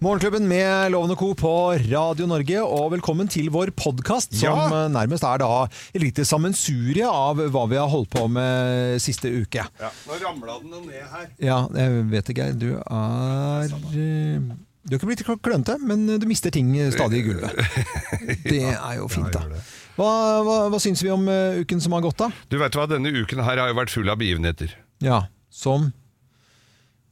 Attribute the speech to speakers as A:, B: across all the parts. A: Morgenklubben med Lovende Co. på Radio Norge, og velkommen til vår podkast, som
B: Ja.
A: eh, nærmest er da et lite sammensurie av hva vi har holdt på med siste uke.
B: Nå ramla den jo ned her.
A: Ja, jeg vet ikke, du er eh, Du er ikke blitt klønete, men du mister ting eh, stadig i gulvet. Det er jo fint,
B: gjør
A: da.
B: det.
A: Hva, hva, hva syns vi om eh, uken som har gått, da?
B: Du vet hva, Denne uken her har jo vært full av begivenheter.
A: Ja, som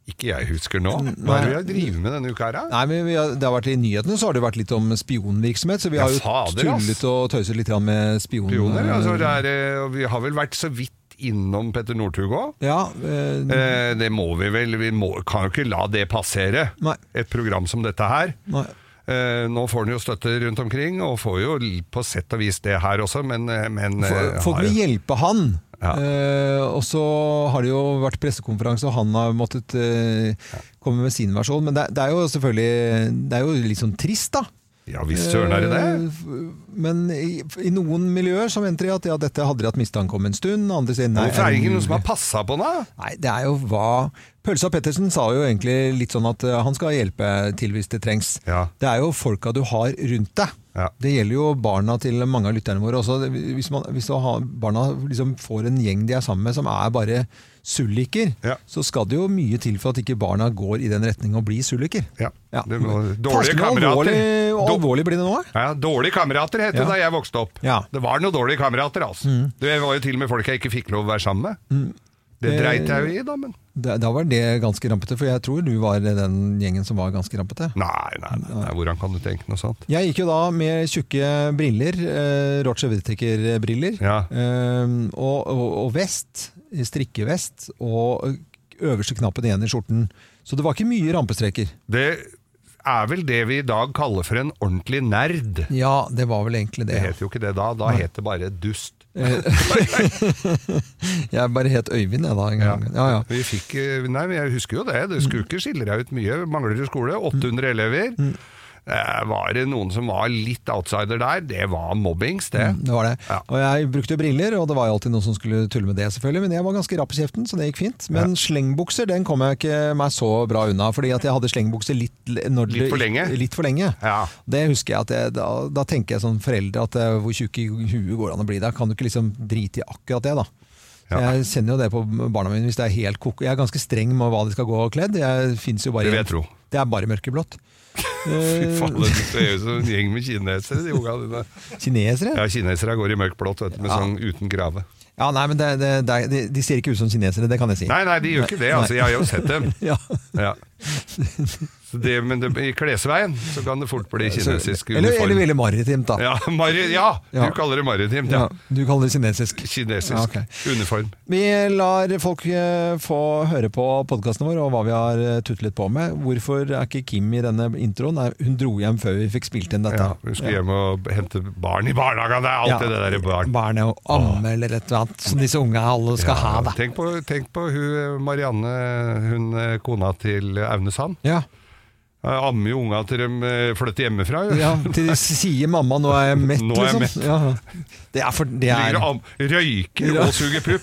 B: Ikke jeg husker nå.
A: Mm.
B: Hva er det vi har drevet med denne uka her? da?
A: Nei, men vi har, det har vært I nyhetene så har det vært litt om spionvirksomhet, så vi
B: Ja,
A: har jo
B: fader, ass.
A: tullet og tøyset litt grann med spion...
B: Pioner, altså, det er, eh, og vi har vel vært så vidt innom Petter Northug òg.
A: Ja, eh,
B: Eh, det må vi vel. Vi må, kan jo ikke la det passere.
A: Nei.
B: Et program som dette her.
A: nei.
B: Eh, nå får han jo støtte rundt omkring, og får jo l- på sett og vis det her også, men, eh, men eh,
A: Fo- Folk
B: har
A: vil
B: jo-
A: hjelpe han.
B: Ja.
A: Eh, og så har det jo vært pressekonferanse, og han har måttet eh, komme med sin versjon. Men det, det er jo selvfølgelig Det er jo litt sånn trist, da.
B: Ja visst søren er det det.
A: Eh, f- Men i, i noen miljøer så venter de at ja, dette hadde de hatt mistanke om en stund. Andre sier nei. Mm.
B: Hvorfor er det
A: det
B: ikke noen som
A: mulig?
B: har passa på den? da?
A: Nei, det er jo hva Pølsa Pettersen sa jo egentlig litt sånn at eh, han skal hjelpe til hvis det trengs.
B: Ja.
A: Det er jo folka du har rundt deg.
B: Ja.
A: Det gjelder jo barna til mange av lytterne våre også. Det- Hvis, man, hvis du har, barna liksom får en gjeng de er sammen med som er bare sulliker,
B: Ja.
A: så skal det jo mye til for at ikke barna går i den retning og blir sulliker.
B: Ja.
A: Ja.
B: Det må,
A: Forskning
B: dårlige kamerater.
A: alvorlig,
B: Då-
A: alvorlig blir det nå? eh?
B: Ja, Dårlige kamerater het det
A: Ja.
B: da jeg vokste opp.
A: Ja. Mm.
B: Det var noen dårlige kamerater, altså. Det var jo til og med folk jeg ikke fikk lov å være sammen med. Det
A: Det-
B: dreit jeg jo i, da, men
A: Da, da var det ganske rampete, for jeg tror du var den gjengen som var ganske rampete.
B: Nei, nei, nei, nei, hvordan kan du tenke noe sånt?
A: Jeg gikk jo da med tjukke briller, eh, Roger Whittaker-briller,
B: Ja.
A: eh, og, og, og vest, strikkevest, og øverste knappen igjen i skjorten. Så det var ikke mye rampestreker.
B: Det er vel det vi i dag kaller for en ordentlig nerd.
A: Ja, det var vel egentlig
B: Det
A: det.
B: het jo ikke det da, da het det bare dust.
A: Eh. Jeg bare het Øyvind, jeg da. En gang. Ja, ja.
B: Vi fikk, eh, nei, men jeg husker jo det, det skulle ikke skille deg ut mye. Mangler du skole?
A: Mm.
B: 800 elever. Eh, Var det noen som var litt outsider der? Det var mobbings, det.
A: Mm, Det var det.
B: Ja.
A: Og jeg brukte briller, og det var jo alltid noen som skulle tulle med det, selvfølgelig. Men jeg var ganske rapp i kjeften, så det gikk fint. Men slengbukser, den kom jeg ikke meg så bra unna, fordi at jeg hadde slengbukser litt, l- når
B: Litt for
A: det-
B: lenge?
A: Litt for lenge.
B: Ja.
A: Det husker jeg at jeg, da, da tenker jeg som foreldre at eh, hvor tjukk i huet går det an å bli da? Kan du ikke liksom drite i akkurat det, da? Så
B: Ja.
A: Jeg kjenner jo det på barna mine hvis det er helt koko. Jeg er ganske streng med hva de skal gå kledd. Jeg finnes jo bare
B: Det vil
A: i-
B: jeg tro.
A: Det er bare mørkeblått.
B: Fy faen, det ser ut som en gjeng med kinesere, de unga dine.
A: Eh, Kinesere?
B: Ja, kinesere går i mørkblått, vet du, med sånn uten grave.
A: Ja, nei, men det, det, det, er- de, de ser ikke ut som kinesere, det kan jeg si.
B: Nei, nei, de gjør ikke det, altså, jeg har jo sett dem.
A: Ja.
B: Ja. Så det, men det, i klesveien så kan det fort bli kinesisk
A: Eller, eller
B: uniform.
A: veldig maritimt, da.
B: Ja, mari, ja,
A: Ja.
B: du kaller det maritimt,
A: Ja,
B: ja.
A: du kaller det kinesisk. Ja, ok.
B: Kinesisk uniform.
A: Vi lar folk eh, få høre på podkasten vår og hva vi har eh, tutlet på med. Hvorfor er ikke Kim i denne introen? Nei, hun dro hjem før vi fikk spilt inn dette.
B: Ja, hun skulle hjem og hente barn i barnehagen, det er alltid det der barn.
A: Barn og amme eller et eller annet som disse unge alle skal ha,
B: Ja,
A: da.
B: tenk på, tenk på hun, eh, Marianne, hun eh, kona til Aune Sand.
A: Ja.
B: Eh, Ammer jo unga til de eh, flytter hjemmefra. jo.
A: ja, til de sier mamma 'nå er jeg mett',
B: Nå er jeg
A: liksom. Ja. Det er for det er,
B: Ligger og am- røyker
A: Ja.
B: og suger pupp.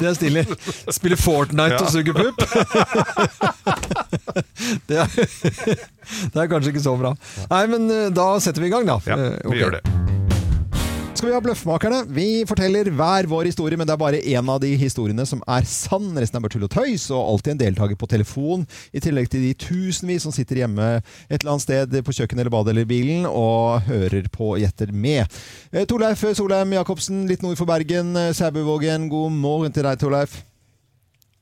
A: det er stille. Spiller Fortnite
B: Ja.
A: og suger pupp. det, er, det er kanskje ikke så bra. Nei, men eh, da setter vi i gang, da.
B: Ja,
A: Eh, ok.
B: vi gjør det.
A: Skal vi ha Bløffmakerne? Vi forteller hver vår historie, men det er bare én av de historiene som er sann. Resten er bare tull og tøys, og alltid en deltaker på telefon. I tillegg til de tusenvis som sitter hjemme et eller annet sted på kjøkkenet eller badet eller i bilen og hører på og gjetter med. Eh, Torleif Solheim Jacobsen, litt nord for Bergen, eh, Sæbøvågen. God morgen til deg, Torleif.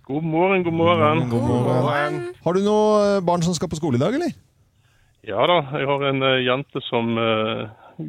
C: God morgen, god morgen.
A: Har du noen barn som skal på skole i dag, eller?
C: Ja da, jeg har en eh, jente som eh,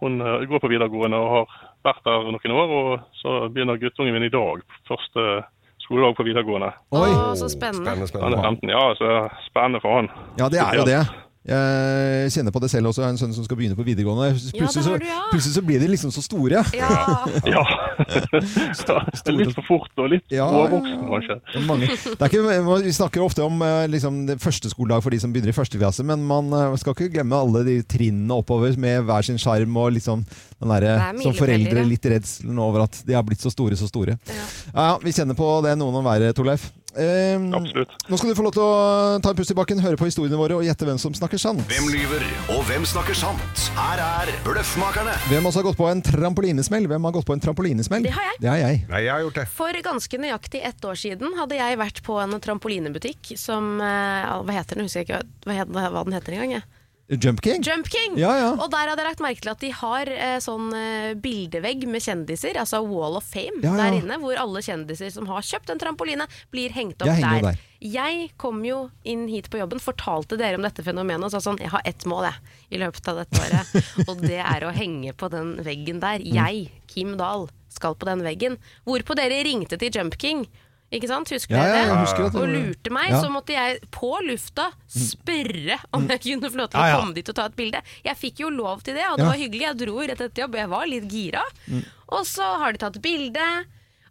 C: hun eh, går på videregående og har vært der noen år. Og så begynner guttungen min i dag, første skoledag på videregående.
A: Oi!
D: Å, så spennende.
B: Spennende,
C: Han er
B: spennende.
C: 15, ja, så spennende for han.
A: Ja, det er jo det. Jeg kjenner på det selv også. Jeg har en sønn som skal begynne på videregående. Plutselig så,
D: har du, ja.
A: plutselig så blir de liksom så store.
D: Ja,
C: Ja. litt for fort og litt
A: Ja,
C: overvoksen, kanskje.
A: Mange. Det er ikke, vi snakker ofte om eh, liksom, det første skoledag for de som begynner i første klasse, men man eh, skal ikke glemme alle de trinnene oppover med hver sin skjerm og liksom den derre
D: Det er
A: som foreldre
D: milepæler, ja.
A: litt redselen over at de har blitt så store, så store. Ja, Vi kjenner på det noen om hver, Torleif. Ehm,
C: Absolutt.
A: Nå skal du få lov til å eh, ta en pust i bakken, høre på historiene våre og gjette hvem som snakker sant.
D: Hvem lyver, og hvem snakker sant? Her er Bløffmakerne.
A: Hvem også har gått på en trampolinesmell? Hvem har gått på en trampolinesmell?
E: Det har jeg.
A: Det har jeg.
B: Nei, jeg har gjort det.
E: For ganske nøyaktig ett år siden hadde jeg vært på en trampolinebutikk som eh, Hva heter den? Husker jeg ikke hva, het- hva den heter engang. jeg.
A: Jump King?
E: Jump King!
A: Ja, ja.
E: Og der hadde jeg lagt merke til at de har eh, sånn eh, bildevegg med kjendiser, altså Wall of Fame
A: Ja, ja.
E: der inne, hvor alle kjendiser som har kjøpt en trampoline, blir hengt opp
A: Jeg henger jo
E: der.
A: der.
E: Jeg kom jo inn hit på jobben, fortalte dere om dette fenomenet og sa sånn Jeg har ett mål, jeg, i løpet av dette året, og det er å henge på den veggen
A: Mm.
E: der. Jeg, Kim Dahl, skal på den veggen. Hvorpå dere ringte til Jump King. Ikke sant? Husker
A: Ja, ja,
E: dere det?
A: jeg husker at det
E: og
A: var-
E: lurte meg,
A: Ja. Mm.
E: så måtte jeg på lufta spørre om jeg kunne få lov til
A: Ja, ja.
E: å komme dit og ta et bilde. Jeg fikk jo lov til det, og det
A: Ja. Mm.
E: var hyggelig. Jeg dro rett etter jobb, og jeg var litt gira. Og så har de tatt bilde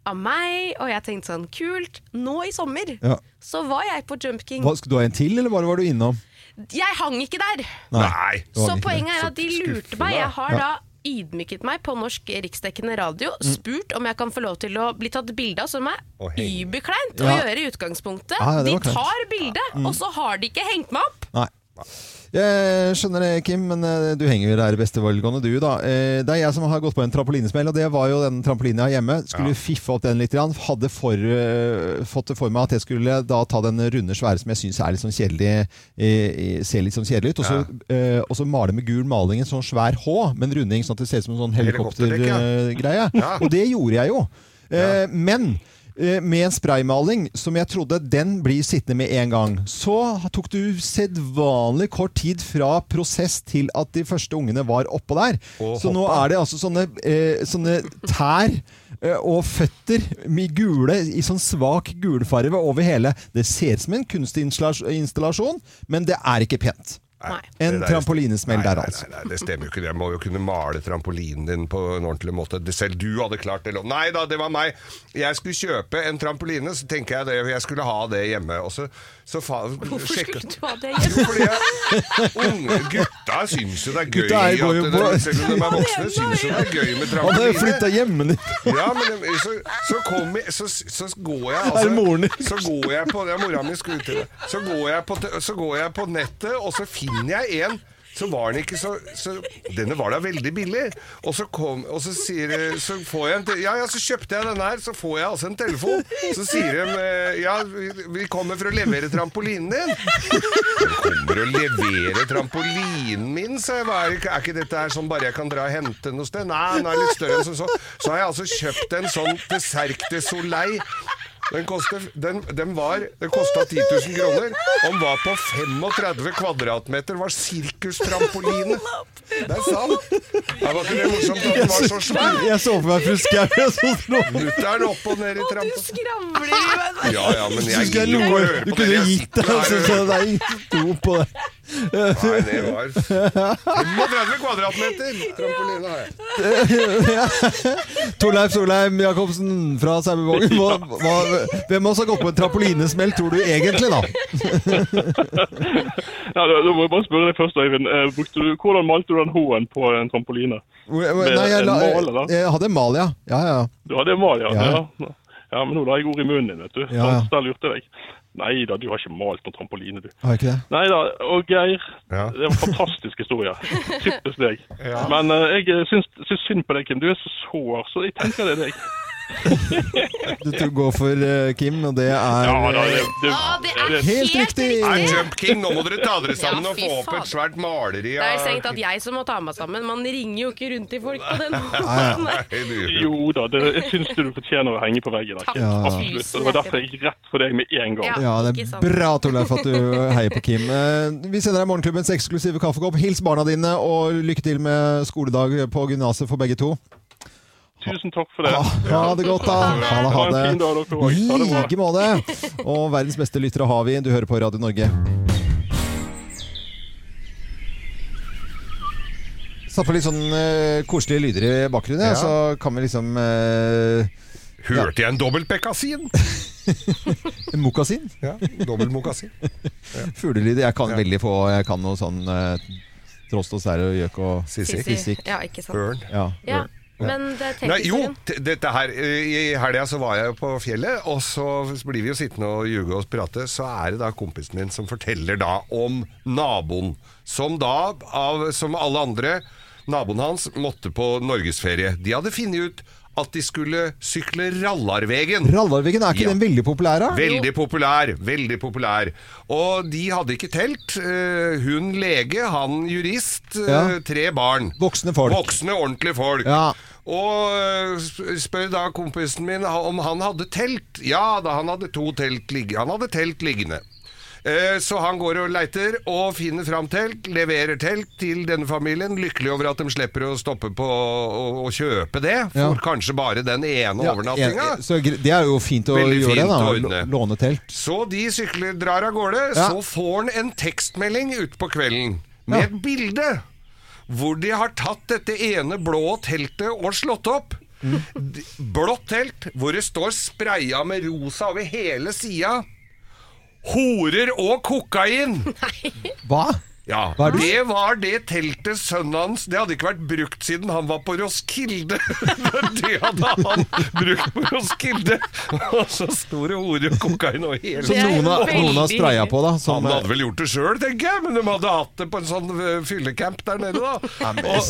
E: av meg, og jeg tenkte sånn kult. Nå i sommer
A: Ja.
E: så var jeg på Jump King.
A: Hva, skulle du ha en til, eller bare var du innom?
E: Jeg hang ikke der!
B: Nei.
A: Det var ikke
E: Så
A: det.
E: poenget er at de
B: Så
E: lurte
B: skuffende.
E: meg. Jeg har
A: Ja. Mm.
E: da ydmyket meg på norsk riksdekkende radio, spurt om jeg kan få lov til å bli tatt bilde av, som er
B: Og henge.
E: überkleint å
A: Ja.
E: gjøre i utgangspunktet.
A: Ja, ja, det
E: de
A: var kleint. Mm.
E: tar bildet, og så har de ikke hengt meg opp!
A: Nei. Jeg skjønner det, Kim, men eh, du henger vel der i beste velgående, du, da. Eh, Det er jeg som har gått på en trampolinesmell, og det var jo den trampolinen jeg har hjemme. Skulle fiffe opp den litt. grann. Hadde for, eh, fått det for meg at jeg skulle da ta den runde, svære som jeg syns er litt sånn kjedelig, eh, ser litt sånn kjedelig ut. Og så, eh, og så male med gul maling en sånn svær H med en runding, sånn at det ser ut som en sånn
B: Helikopterdekk, ja.
A: helikoptergreie.
B: Ja.
A: Og det gjorde jeg jo. Eh, Men eh, med en spraymaling som jeg trodde den blir sittende med en gang. Så tok det usedvanlig kort tid fra prosess til at de første ungene var oppå der.
B: Og
A: så nå er det altså sånne, eh, sånne tær eh, og føtter med gule, i sånn svak gulfarve over hele. Det ser ut som en kunstinstallasjon, men det er ikke pent.
E: Nei.
A: En
B: Det der-
A: trampolinesmell
B: Nei,
A: der,
B: nei,
A: altså.
B: Nei, nei, det stemmer jo ikke. Jeg må jo kunne male trampolinen din på en ordentlig måte. Det selv du hadde klart det. lo- Nei da, det var meg. Jeg skulle kjøpe en trampoline, så tenker jeg det, jeg skulle ha det hjemme. Og så, så fa
E: Hvorfor
B: sjekka-
E: skulle du ha det
B: Jo,
E: hjemme?
B: fordi jeg, unge gutta syns jo det er gøy
A: Gutta er- går jo
B: at
A: på-
B: det, Selv om de er voksne, syns jo det er gøy med
A: Han har flytta
B: trampoline.
A: hjemmefra.
B: Ja, men de- så, så kommer jeg så, så går jeg altså,
A: Er det moren din?
B: Så går jeg på Ja, mora mi skulle til det. Så går, jeg på, t- så går jeg på nettet, og så finner jeg en så var den ikke så, så Denne var da veldig billig. Og så, kom, og så, sier, så får jeg en te- Ja, ja, så kjøpte jeg denne her. Så får jeg altså en telefon. Så sier de eh, Ja, vi, vi kommer for å levere trampolinen din. Kommer og leverer trampolinen min, sa jeg. Hva Er, ikke- er ikke dette her sånn bare jeg kan dra og hente noe sted? Nei, den er litt større enn som så. Så har jeg altså kjøpt en sånn til Cerque de Soleil. Den, koster, den, den, var, den kosta 10 000 kroner. og Den var på 35 kvadratmeter. Var sirkustrampoline. Det er sant. Det var ikke det morsomt at den var så svær.
A: Jeg så for meg fru Skau. jeg så-
B: Mutter'n opp og ned i
E: Du
B: trampoline.
E: skravler jo! men-
B: Ja, ja, men jeg
A: Synes jeg
B: gidder jo ikke å
A: noe-
B: høre
A: Du
B: på
A: kunne
B: dere. Jeg
A: gitt deg,
B: sitter her
A: altså,
B: og-
A: så det er ingen tro på det.
B: Nei, det var 35 kvadratmeter trampoline har jeg.
A: Torleif Solheim Jacobsen fra Sauevågen. Hva- hva- Hvem av oss har gått på en trampolinesmell, tror du egentlig, da?
C: Ja, da, da må jeg bare spørre deg først, Øyvind. Eh, brukte du, hvordan malte du den H-en på en trampoline?
A: Hvor- hvor- Nei, jeg, la,
C: en mal, eller?
A: jeg hadde en mal, ja. ja, ja.
C: Du hadde en mal, ja.
A: Ja.
C: ja. ja. men nå la jeg ord i munnen din, vet du.
A: Ja, ja.
C: Så der lurte jeg deg. Nei da, du har ikke malt noen trampoline, du.
A: Har jeg ikke det?
C: Nei da, og Geir.
B: Ja.
C: Det var en fantastisk historie. Typisk deg. Men eh, jeg syns, syns synd på deg, Kim. Du er så sår, så jeg tenker det er deg.
A: Du tror går for eh, Kim, og det er
C: Ja, da, det, det,
E: Å, det er
C: det-
A: Helt
E: helt
A: riktig!
E: riktig.
B: Nei, Jump King, nå må dere ta dere sammen
E: Ja,
B: og
E: fy
B: få opp
E: faen.
B: et svært maleri.
E: Det er
B: av-
E: strengt at jeg som må ta meg sammen. Man ringer jo ikke rundt til folk på den
A: ja.
E: måten. der.
B: Nei, du-
C: Jo da, det, jeg syns du fortjener å henge på veggen. da, Kim.
A: Ja.
C: Absolutt. Og det var derfor jeg gikk rett for deg med en gang.
E: Ja.
A: Ja, det
E: ikke
A: er
E: sant.
A: bra, Torleif, at du heier på Kim. Eh, Vi sender deg Morgenklubbens eksklusive kaffekopp. Hils barna dine, og lykke til med skoledag på gymnaset for begge to.
C: Tusen takk for det.
A: Ha det godt, da. Ha det, ha
C: Ha en fin
A: det.
C: dag, dere også. Ha det
A: I
C: bra.
A: like måte. Og verdens beste lyttere har vi. Du hører på Radio Norge. Satt på litt sånn eh, koselige lyder i bakgrunnen, ja.
B: Ja.
A: så kan vi liksom uh,
B: Hørte jeg en dobbelt bekkasin?
A: Mokasin?
B: Ja, dobbelt mokasin.
A: Fuglelyder. Jeg kan veldig få Jeg kan noe sånn uh, trost og sær og gjøk og
B: Sissik.
E: Sissi. Ja, ikke sant.
B: Ørn.
A: Ja.
E: Ja.
B: Og
E: Men det er
B: Nei, jo,
E: teknikken.
B: t- dette her eh, I helga så var jeg jo på fjellet, og så blir vi jo sittende og ljuge og prate. Så er det da kompisen min som forteller da om naboen, som da, av, som alle andre, naboen hans måtte på norgesferie. De hadde funnet ut at de skulle sykle Rallarvegen.
A: Rallarveggen, er ikke
B: Ja.
A: den veldig populær? da?
B: Veldig populær, veldig populær. Og de hadde ikke telt. Eh, Hun lege, han jurist, eh,
A: Ja.
B: tre barn.
A: Voksne folk.
B: Voksne, ordentlige folk.
A: Ja.
B: Og eh, sp- spør da kompisen min om han hadde telt. Ja da, han hadde to telt, ligge- han hadde telt liggende. Eh, Så han går og leiter og finner fram telt, leverer telt til denne familien. Lykkelig over at de slipper å stoppe på å å kjøpe det, for
A: Ja.
B: kanskje bare den ene
A: Ja,
B: overnattinga.
A: en- så gre- det er jo fint å
B: Veldig
A: gjøre
B: fint å
A: det, da.
B: ordne.
A: Lå- Låne telt.
B: Så de sykler, drar av gårde,
A: Ja.
B: så får han en tekstmelding utpå kvelden med
A: Ja.
B: et bilde hvor de har tatt dette ene blå teltet og slått opp. D- Blått telt hvor det står spraya med rosa over hele sida. Horer og kokain!
A: Hva?
B: Ja,
A: Hva er det?
B: det var det teltet sønnen hans Det hadde ikke vært brukt siden han var på Roskilde. Men det hadde han brukt på Roskilde! Og så store horer og kokain og hele
A: Som
E: Det er
A: noen har,
E: veldig-
A: noen har spraya på, da. Som,
B: han hadde vel gjort det sjøl, tenker jeg, men de hadde hatt det på en sånn eh, fyllecamp der nede, da. Og,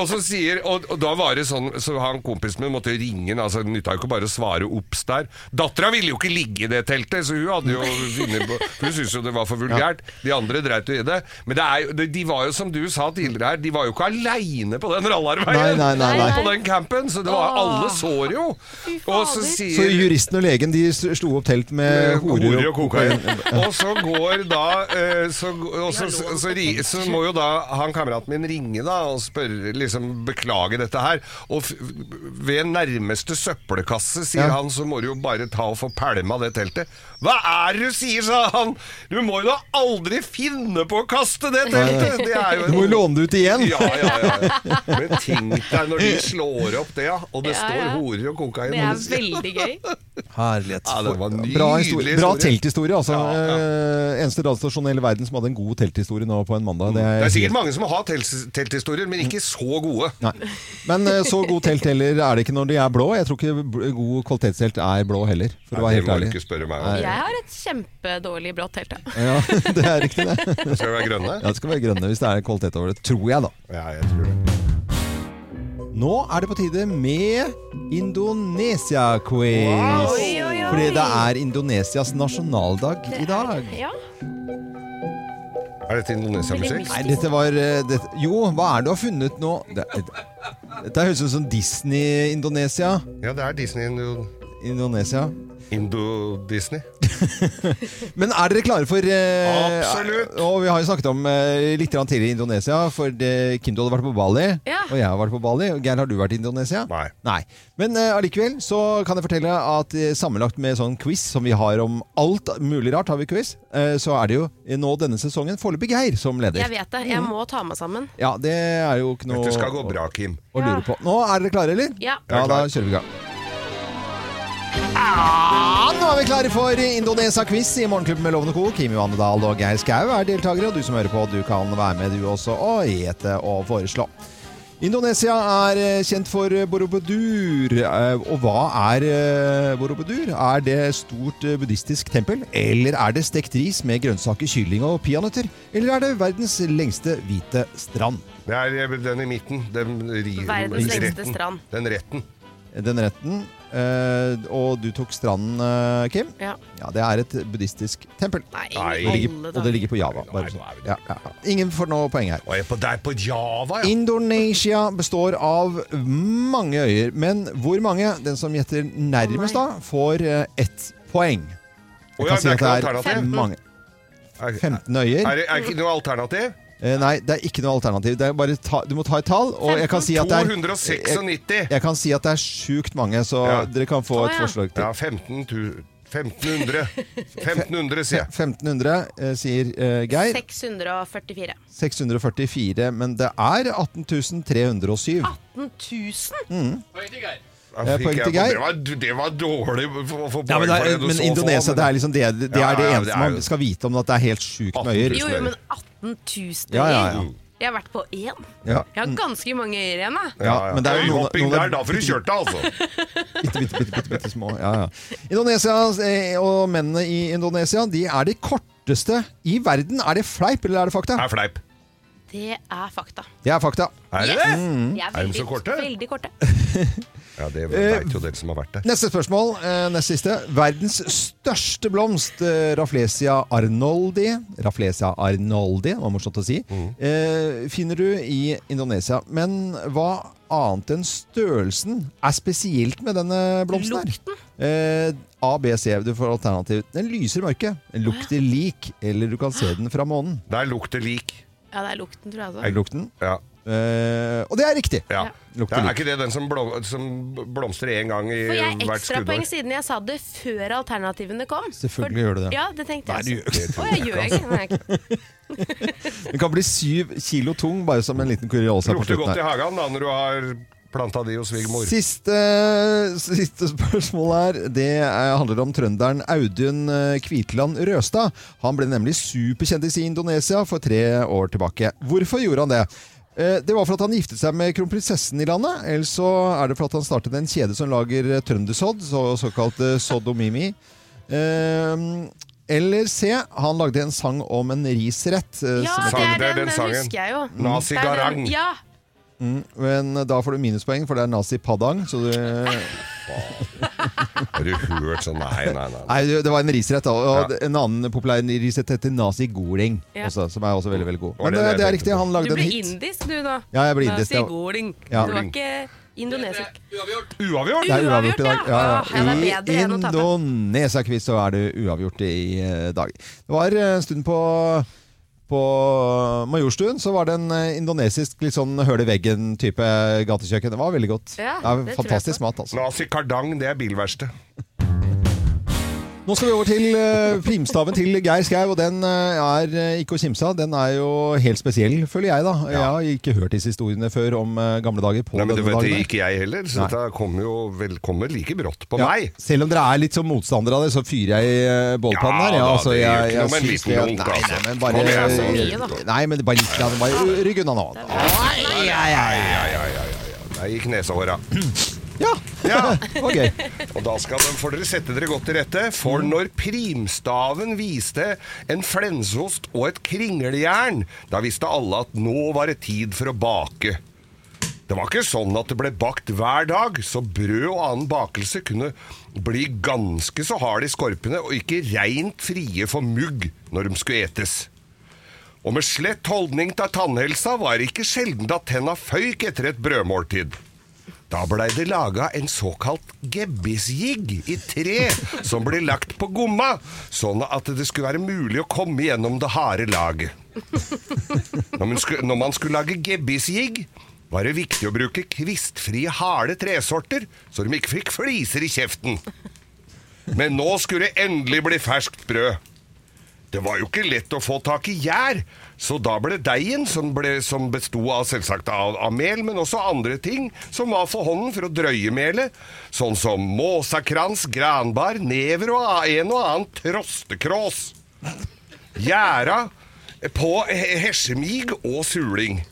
B: og så sier og, og da var det sånn Så han kompisen min måtte ringe han, altså, Det nytta jo ikke bare å svare obs der. Dattera ville jo ikke ligge i det teltet, så hun hadde jo funnet på for Hun syntes jo det var for vulgært. De andre dreit jo i det. Men det er, jo- de- de var jo, som du sa tidligere her, de var jo ikke aleine på den rallarveien.
A: Nei, nei, nei, nei.
B: På den campen, så det var alle sår jo. Og så
E: fader.
A: eh,
B: sier
A: så juristen og legen de s- slo opp telt
B: Eh,
A: med Eh, horer og kokain.
B: og så går da eh, så, og så, så, så, ri- så må jo da han kameraten min ringe da og spørre liksom beklage dette her. Og f ved nærmeste søppelkasse, sier
A: Ja.
B: han, så må du jo bare ta og få pælma det teltet. Hva er det du sier, sa han! Du må jo da aldri finne på å kaste det teltet! Det er jo
A: Du må jo låne det ut igjen!
B: ja, ja, ja. Men tenk deg når de slår opp det, ja, og det
E: Ja,
B: står
E: ja.
B: horer og kokain.
E: Det er veldig gøy.
A: Herlighet.
B: Ja, det var en nydelig
A: bra, historie, bra
B: historie.
A: telthistorie, altså.
B: Ja, ja.
A: Eh, eneste radiostasjon i hele verden som hadde en god telthistorie nå på en mandag. Det
B: Mm, Det
A: er
B: er sikkert mange som har telt- telthistorier, men ikke så gode.
A: Nei. Men eh, så god telt heller er det ikke når de er blå. Jeg tror ikke b- god kvalitetstelt er blå heller, for å
B: Nei,
A: være
B: det
A: helt
B: må du
A: ærlig.
B: ikke spørre meg om.
E: Jeg har et kjempedårlig blått telt. jeg.
A: Ja, det er riktig, det.
B: Skal vi være grønne?
A: Ja, det skal være grønne hvis det er kvalitet over det. Tror jeg, da.
B: Ja, jeg tror det.
A: Nå er det på tide med Indonesia-quiz.
E: Oi, oi, oi.
A: Fordi det er Indonesias nasjonaldag i dag.
E: Ja.
B: Er dette indonesiamusikk?
E: Veldig
A: Nei, dette var eh, det, Jo, hva er det du har funnet nå? Det, det, dette høres ut som Disney-Indonesia.
B: Ja, det er Disney Indo...
A: Indonesia.
B: Indo-Disney.
A: Men er dere klare for eh,
B: Absolutt.
A: Og vi har jo snakket om eh, litt grann tidligere i Indonesia, for eh, Kim, du hadde vært på Bali,
E: Ja.
A: og jeg har vært på Bali. Og Geir, har du vært i Indonesia?
B: Nei.
A: Men eh, allikevel så kan jeg fortelle at eh, sammenlagt med sånn quiz som vi har om alt mulig rart, har vi quiz, eh, så er det jo eh, nå denne sesongen foreløpig Geir som leder.
E: Jeg vet det. Jeg må ta meg sammen.
A: Ja, det er jo ikke noe
B: Dette skal gå bra, Kim.
A: å lure på. Nå er dere klare, eller?
E: Ja.
A: Ja, da kjører vi i gang. Ja, nå er vi klare for Indonesia-quiz i Morgenklubben med Lovende Co. Kim Johanne Dahl og Geir Skau er deltakere, og du som hører på, du kan være med du også og gjete og foreslå. Indonesia er eh, kjent for eh, Borobudur. Eh, Og hva er eh, Borobudur? Er det stort eh, buddhistisk tempel? Eller er det stekt ris med grønnsaker, kylling og peanøtter? Eller er det verdens lengste hvite strand?
B: Det er eh, den i midten. Den ri...
E: Verdens lengste
B: retten.
E: strand.
B: Den retten.
A: Den retten. eh, Og du tok stranden, eh, Kim?
E: Ja.
A: Ja, det er et buddhistisk tempel.
E: Nei,
B: Nei.
E: i
A: Det
E: alle
A: ligger, og
E: dager.
A: det ligger på Java. Bare sånn. ja, ja. ja. Ingen får nå poeng her.
B: Og jeg er på der på Java, ja.
A: Indonesia består av mange øyer, men hvor mange? Den som gjetter nærmest, da, får eh, ett poeng. Jeg
B: Å ja,
A: kan si
B: det
A: at
B: er ikke
A: det
B: noe
A: er
B: alternativ.
A: mange.
B: Er,
A: 15 øyer.
B: er det er ikke noe alternativ?
A: Eh, Nei, det er ikke noe alternativ. Det er bare ta, du må ta et tall, og jeg kan si at det er, jeg,
B: 296.
A: jeg kan si at det er sjukt mange, så
B: Ja.
A: dere kan få
E: Å,
A: et
E: ja.
A: forslag til.
B: Ja, 15 tu... 1500. 1500, sier jeg.
A: 1500, eh, sier eh, Geir.
E: 644.
A: Mm. 644, men det er 18307.
E: 18 000?
B: Da
A: Eh,
B: fikk
A: poeng
B: jeg
A: til
B: på-
A: Geir.
B: Det var, det var dårlig å få få
A: Ja,
B: poeng
A: men, det er,
B: for det du
A: men
B: så få,
A: Indonesia,
B: men-
A: det er liksom det, det,
B: Ja,
A: er det
B: ja, det
A: eneste
B: er jo-
A: man skal vite om at det er helt sjukt med øyer.
B: 18 000.
E: Jo, jo, men 18 000
A: Ja, Mm. ja, ja.
E: øyer. Jeg har vært på én.
A: Ja.
E: Jeg har ganske mange øyer igjen, jeg.
A: Ja, men det er jo noen-
B: Øyhopping
A: noen-
B: der, da får du kjørt deg, altså.
A: Bitte, bitte, bitte, bitte, bitte små. Ja, ja. Indonesia eh, og mennene i Indonesia de er de korteste i verden. Er det fleip, eller er det fakta?
B: Det er fleip.
E: Det er fakta.
A: Det er fakta.
B: Er det
E: Yes! Mm.
B: det?
E: De er
B: Er de
E: veldig,
B: så korte?
E: veldig korte.
B: Ja, det
A: Eh.
B: vet jo dere som har vært der.
A: Neste spørsmål. eh, Neste siste. Verdens største blomst, eh, Rafflesia arnoldi. Rafflesia arnoldi, det var morsomt å si. eh, Finner du i Indonesia. Men hva annet enn størrelsen er spesielt med denne blomsten her?
E: Lukten?
A: Eh, A, B, C. Du får alternativ. Den lyser i mørket. Den lukter lik. Eller du kan se den fra månen.
B: Der lukter lik.
E: Ja, det er lukten, tror jeg. Altså.
A: Er lukten?
B: Ja.
A: Eh, og det er riktig.
B: ja.
A: Lukter
B: Er
A: lik.
B: ikke det den som, blom, som blomstrer én gang i
E: Får jeg
B: hvert
E: ekstrapoeng
B: skuddår?
E: siden jeg sa det før alternativene kom?
A: Selvfølgelig gjør du det.
E: Ja, det tenkte
A: Nei, du gjør
E: jeg
A: ikke det.
E: Å, jeg gjør ikke det. Nei.
A: Den kan bli syv kilo tung, bare som en liten kuriosa. på
B: Lukter
A: slutten
B: godt i
A: her.
B: hagen da når du har planta de hos svigermor.
A: Siste, siste spørsmål her Det er- handler om trønderen Audun eh, Kvitland Røstad. Han ble nemlig superkjendis i Indonesia for tre år tilbake. Hvorfor gjorde han det? Eh, Det var for at han giftet seg med kronprinsessen i landet. Eller så er det for at han startet en kjede som lager eh, trøndersodd, så, såkalt eh, sodomimi. Eh, Eller C. Han lagde en sang om en risrett. eh,
E: Ja,
A: som-
E: det
B: Sang,
E: er
B: det er
E: den,
B: den
E: den
B: sangen.
E: husker jeg jo.
B: Nazi
E: Det er den-
B: Garang.
E: Ja,
A: Men da får du minuspoeng, for det er nazi padang. Så du
B: Har du hørt sånn? Nei, nei, nei. nei.
A: Nei, det var en risrett. da, Og
B: Ja.
A: En annen populær risrett heter Nazi Goling,
E: Ja.
A: også, som er også veldig veldig god.
B: Var
A: Men
B: det
A: det,
B: det jeg
A: det er
B: tenkte
A: riktig,
B: på?
A: han
E: du
A: lagde
E: ble
A: en hit.
E: indisk du nå.
A: Ja, jeg ble indisk,
E: Nazi
A: det var-
E: Goling.
A: Ja.
E: Du var ikke indonesisk.
B: Uavgjort!
A: Det er
E: Uavgjort,
A: uavgjort i dag.
E: ja. Ja, det er
A: I
E: bedre enn å tape.
A: Indonesia-quiz så er det uavgjort i eh, dag. Det var eh, en stund på på Majorstuen så var det en eh, indonesisk litt sånn høl i veggen-type gatekjøkken. Det var veldig godt. det
E: Ja, det
A: er
E: tror jeg
A: fantastisk
E: på.
A: mat, altså.
B: Nazi Kardang, det er bilverksted.
A: Nå skal vi over til eh, primstaven til Geir Skau, og den eh, er eh, ikke å kimse av. Den er jo helt spesiell, føler jeg, da. Jeg har ikke hørt disse historiene før om eh, gamle dager på
B: Nei, men du
A: denne
B: vet det,
A: dagen.
B: ikke jeg heller, så
A: Nei.
B: dette kommer jo vel, kommer like brått på
A: Ja,
B: meg.
A: selv om dere er litt som motstandere av det, så fyrer jeg i eh, bålpannen her.
B: Ja da, det gjør
A: jeg,
B: ikke noe med en
A: syns
B: liten
A: det-
B: lunk,
A: nei,
B: altså.
A: nei, men
B: Nå
A: bare,
B: blir jeg
E: så mye, da.
A: nei, men bare litt. grann, Bare, rygg unna nå. Ai, ai, ai.
B: Ai, ai, ai, ai, ai. Nei, i kneshåra.
A: Ja,
B: Ja.
A: det var gøy.
B: Og da skal de, får dere sette dere godt til rette, for når primstaven viste en flensost og et kringlejern, da visste alle at nå var det tid for å bake. Det var ikke sånn at det ble bakt hver dag, så brød og annen bakelse kunne bli ganske så hard i skorpene og ikke reint frie for mugg når de skulle etes. Og med slett holdning til tannhelsa var det ikke sjelden at tenna føyk etter et brødmåltid. Da blei det laga en såkalt gebbisjigg i tre, som ble lagt på gomma, sånn at det skulle være mulig å komme gjennom det harde laget. Når man skulle, når man skulle lage gebbisjigg, var det viktig å bruke kvistfrie, harde tresorter, så de ikke fikk fliser i kjeften. Men nå skulle det endelig bli ferskt brød. Det var jo ikke lett å få tak i gjær, så da ble deigen, som, ble, som besto av selvsagt av, av mel, men også andre ting som var for hånden for å drøye melet, sånn som måsakrans, granbar, never og a- en og annen trostekrås. Gjæra på he- hesjemig og suling.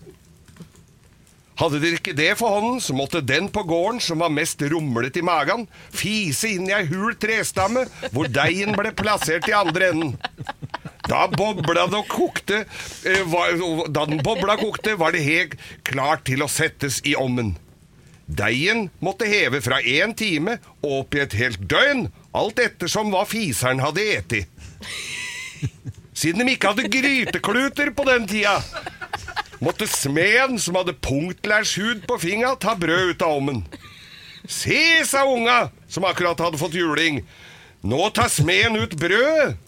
B: Hadde dere ikke det for hånden, så måtte den på gården som var mest rumlet i magen, fise inn i ei hul trestamme hvor deigen ble plassert i andre enden. Da bobla det og kokte eh, var, Da den bobla kokte, var det helt klart til å settes i ommen. Deigen måtte heve fra én time og opp i et helt døgn, alt ettersom hva fiseren hadde eti. Siden de ikke hadde grytekluter på den tida, måtte smeden som hadde punktlærshud på finga, ta brød ut av ommen. Se, sa unga, som akkurat hadde fått juling. Nå tar smeden ut brødet.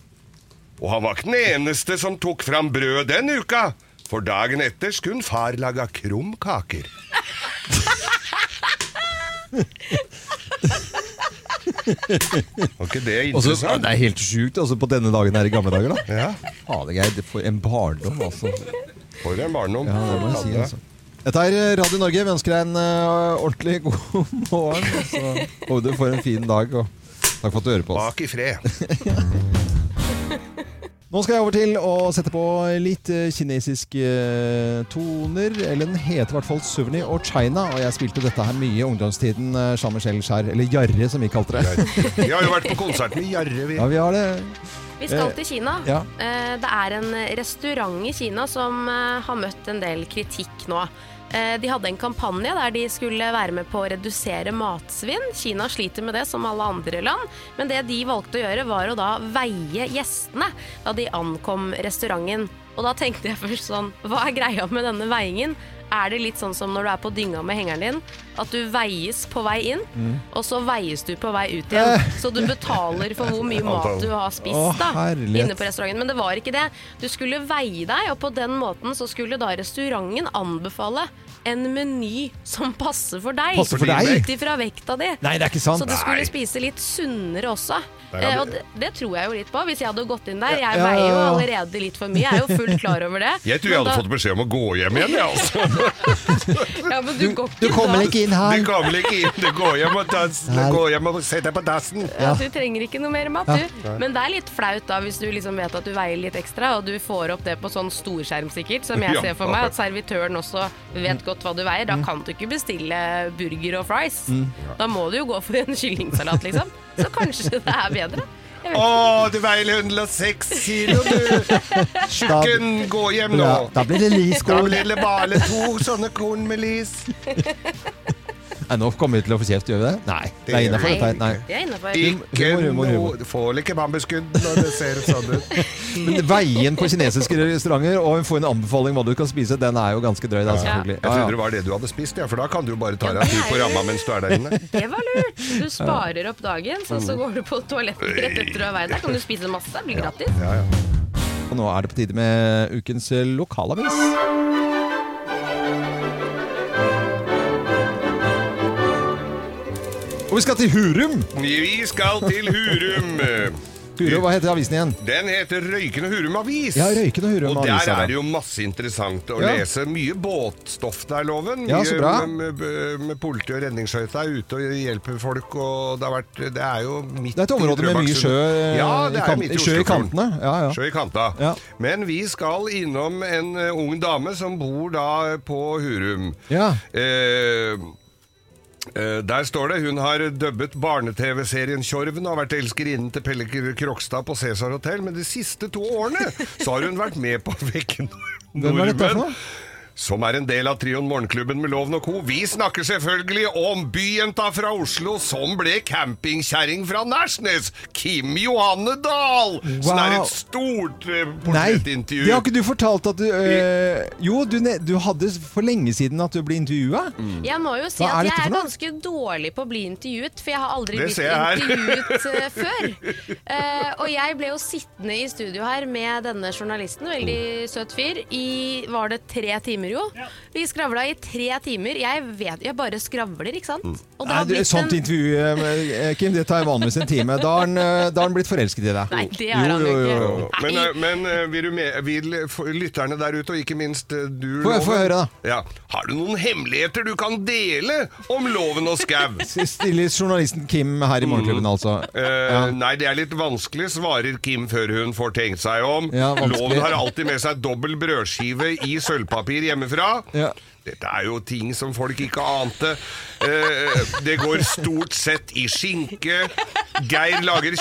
B: Og han var ikke den eneste som tok fram brød den uka, for dagen etter skulle far laga krumkaker. Var ikke det
A: Også,
B: interessant?
A: det er helt sjukt altså, på denne dagen her i gamle dager. da
B: Ja.
A: Fader, Geir, det for en barndom, altså.
B: For en barndom.
A: Ja, det må jeg si, altså. Dette er Radio Norge. Vi ønsker deg en eh, ordentlig god morgen. og Så håper du får en fin dag. Og takk for at du hører på oss.
B: Bak i fred.
A: Nå skal jeg over til å sette på litt eh, kinesiske eh, toner. Eller den heter i hvert fall Suvni og China, og jeg spilte dette her mye i ungdomstiden. eh, Jean-Michel Skjær, eller Jarre som vi kalte det.
B: Vi har jo vært på konsert med Jarre, vi.
A: Ja, vi har det.
E: Vi skal til Kina.
A: Ja.
E: Eh, Det er en restaurant i Kina som eh, har møtt en del kritikk nå. Eh, De hadde en kampanje der de skulle være med på å redusere matsvinn. Kina sliter med det, som alle andre land. Men det de valgte å gjøre, var å da veie gjestene da de ankom restauranten. Og da tenkte jeg først sånn Hva er greia med denne veiingen? Er det litt sånn som når du er på dynga med hengeren din? At du veies på vei inn, og så veies du på vei ut igjen. Så du betaler for hvor mye mat du har spist
A: Å,
E: da,
A: herlighet.
E: inne på restauranten. Men det var ikke det. Du skulle veie deg, og på den måten så skulle da restauranten anbefale en meny som passer for deg.
A: Passer for deg?
E: Ut ifra vekta di.
A: Nei, det er ikke sant.
E: Så du skulle spise litt sunnere også.
B: er
E: Eh,
B: det-
E: og det, det tror jeg jo litt på, hvis jeg hadde gått inn der.
A: Ja,
E: Jeg
A: ja,
E: veier
A: ja,
E: jo
A: ja.
E: allerede litt for mye, jeg er jo fullt klar over det.
B: Jeg tror jeg hadde
E: Men da-
B: fått beskjed om å gå hjem igjen, jeg, altså.
E: ja, men du, går
A: Du
E: ikke
A: kommer
E: da.
A: ikke inn
B: Du
A: her.
B: kommer vel ikke inn, du går hjem og, dans, du går hjem og setter deg på dassen.
E: Ja. Du trenger ikke noe mer mat, du. Men det er litt flaut da hvis du liksom vet at du veier litt ekstra, og du får opp det på sånn storskjerm sikkert, som jeg
B: Ja.
E: ser for meg, at servitøren også vet godt hva du veier. Da kan du ikke bestille burger og fries. Da må du jo gå for en kyllingsalat, liksom. Så kanskje det er bedre. Jeg vet
B: Å,
E: ikke.
B: du veier 106 kilo, du!
A: Da,
B: Kun gå hjem nå!
A: ja, da blir det
B: Da
A: liskål.
B: blir det bare to sånne korn med lis.
A: Nei, nå kommer vi til å få kjeft, gjør vi det? Nei, det er innafor
E: Nei,
A: dette her. Nei.
E: det er innafor.
B: Ikke
A: Humor, humor, humor.
B: noe Du får ikke bambuskudd når det ser sånn ut.
A: Men veien på kinesiske restauranter og få en anbefaling hva du kan spise, den er jo ganske drøy, da, selvfølgelig.
B: Jeg
A: Ja, ja.
B: trodde det var det du hadde spist, ja, for da kan du jo bare ta deg en tur på ramma mens du er der inne.
E: Det var lurt. Du sparer opp dagen, så, så går du på toalettet rett etter du har veid deg. Kan du spise masse? Det blir gratis.
B: Ja, ja.
A: Og nå er det på tide med ukens eh, lokalavis. Og vi skal til Hurum.
B: Vi skal til Hurum.
A: Hurum, Hva heter avisen igjen?
B: Den heter Røyken og Hurum Avis.
A: Ja, Røyken og Hurum
B: Og der
A: Avis, ja.
B: er det jo masse interessant å
A: Ja.
B: lese. Mye båtstoff der, Loven.
A: Ja, så bra.
B: Mye med, med politi og redningsskøyta er ute og hjelper folk, og det har vært Det er jo midt
A: Det er et område med mye sjø, eh,
B: ja, det
A: i,
B: er
A: kan
B: midt i,
A: sjø i
B: Oslofjorden.
A: kantene. Ja, ja.
B: Sjø i kanta.
A: Ja.
B: Men vi skal innom en eh, ung dame som bor da på Hurum.
A: Ja.
B: Eh, eh, der står det hun har dubbet barne-TV-serien Tjorven og har vært elskerinnen til Pelle Kr- Krokstad på Cæsar Hotel, men de siste to årene så har hun vært med på å vekke
A: Hvem er dette for
B: nordmenn.
A: noe?
B: Som er en del av Trion Morgenklubben med Loven og Co. Vi snakker selvfølgelig om byjenta fra Oslo som ble campingkjerring fra Nærsnes! Kim Johanne Dahl! Sånn er
A: Wow.
B: et stort eh,
A: Nei,
B: portrettintervju.
A: det har ikke du fortalt at du eh, Jo, du, ne- du hadde for lenge siden at du ble intervjua.
E: Jeg må jo si
A: Hva er
E: at
A: dette for
E: jeg er
A: noe?
E: ganske dårlig på å bli intervjuet, for jeg har aldri
B: Det
E: blitt
B: ser jeg her.
E: intervjuet eh, før. Eh, og jeg ble jo sittende i studio her med denne journalisten, veldig søt fyr, i var det tre timer jo? Vi skravla i tre timer. Jeg vet Jeg bare skravler, ikke sant? Og
A: Mm. Nei, du,
E: blitt
A: et sånt
E: en-
A: intervju, eh, Kim, det tar vanligvis en time. Da har han, eh, da har han blitt forelsket i deg.
E: Nei, det er han jo ikke.
B: Men,
E: Nei.
B: eh, men eh, vil, du med, vil eh, f- lytterne der ute, og ikke minst eh, du
A: Få- få
B: Loven,
A: høre da.
B: Ja. Har du noen hemmeligheter du kan dele om Loven og Skau?
A: Stiller journalisten Kim her i Morgenklubben, altså.
B: Eh, Nei, det er litt vanskelig, svarer Kim før hun får tenkt seg om.
A: Ja, vanskelig.
B: Loven har alltid med seg dobbel brødskive i sølvpapir hjemmefra.
A: Ja.
B: Dette er jo ting som folk ikke ante. Eh, det går stort sett i skinke. Geir lager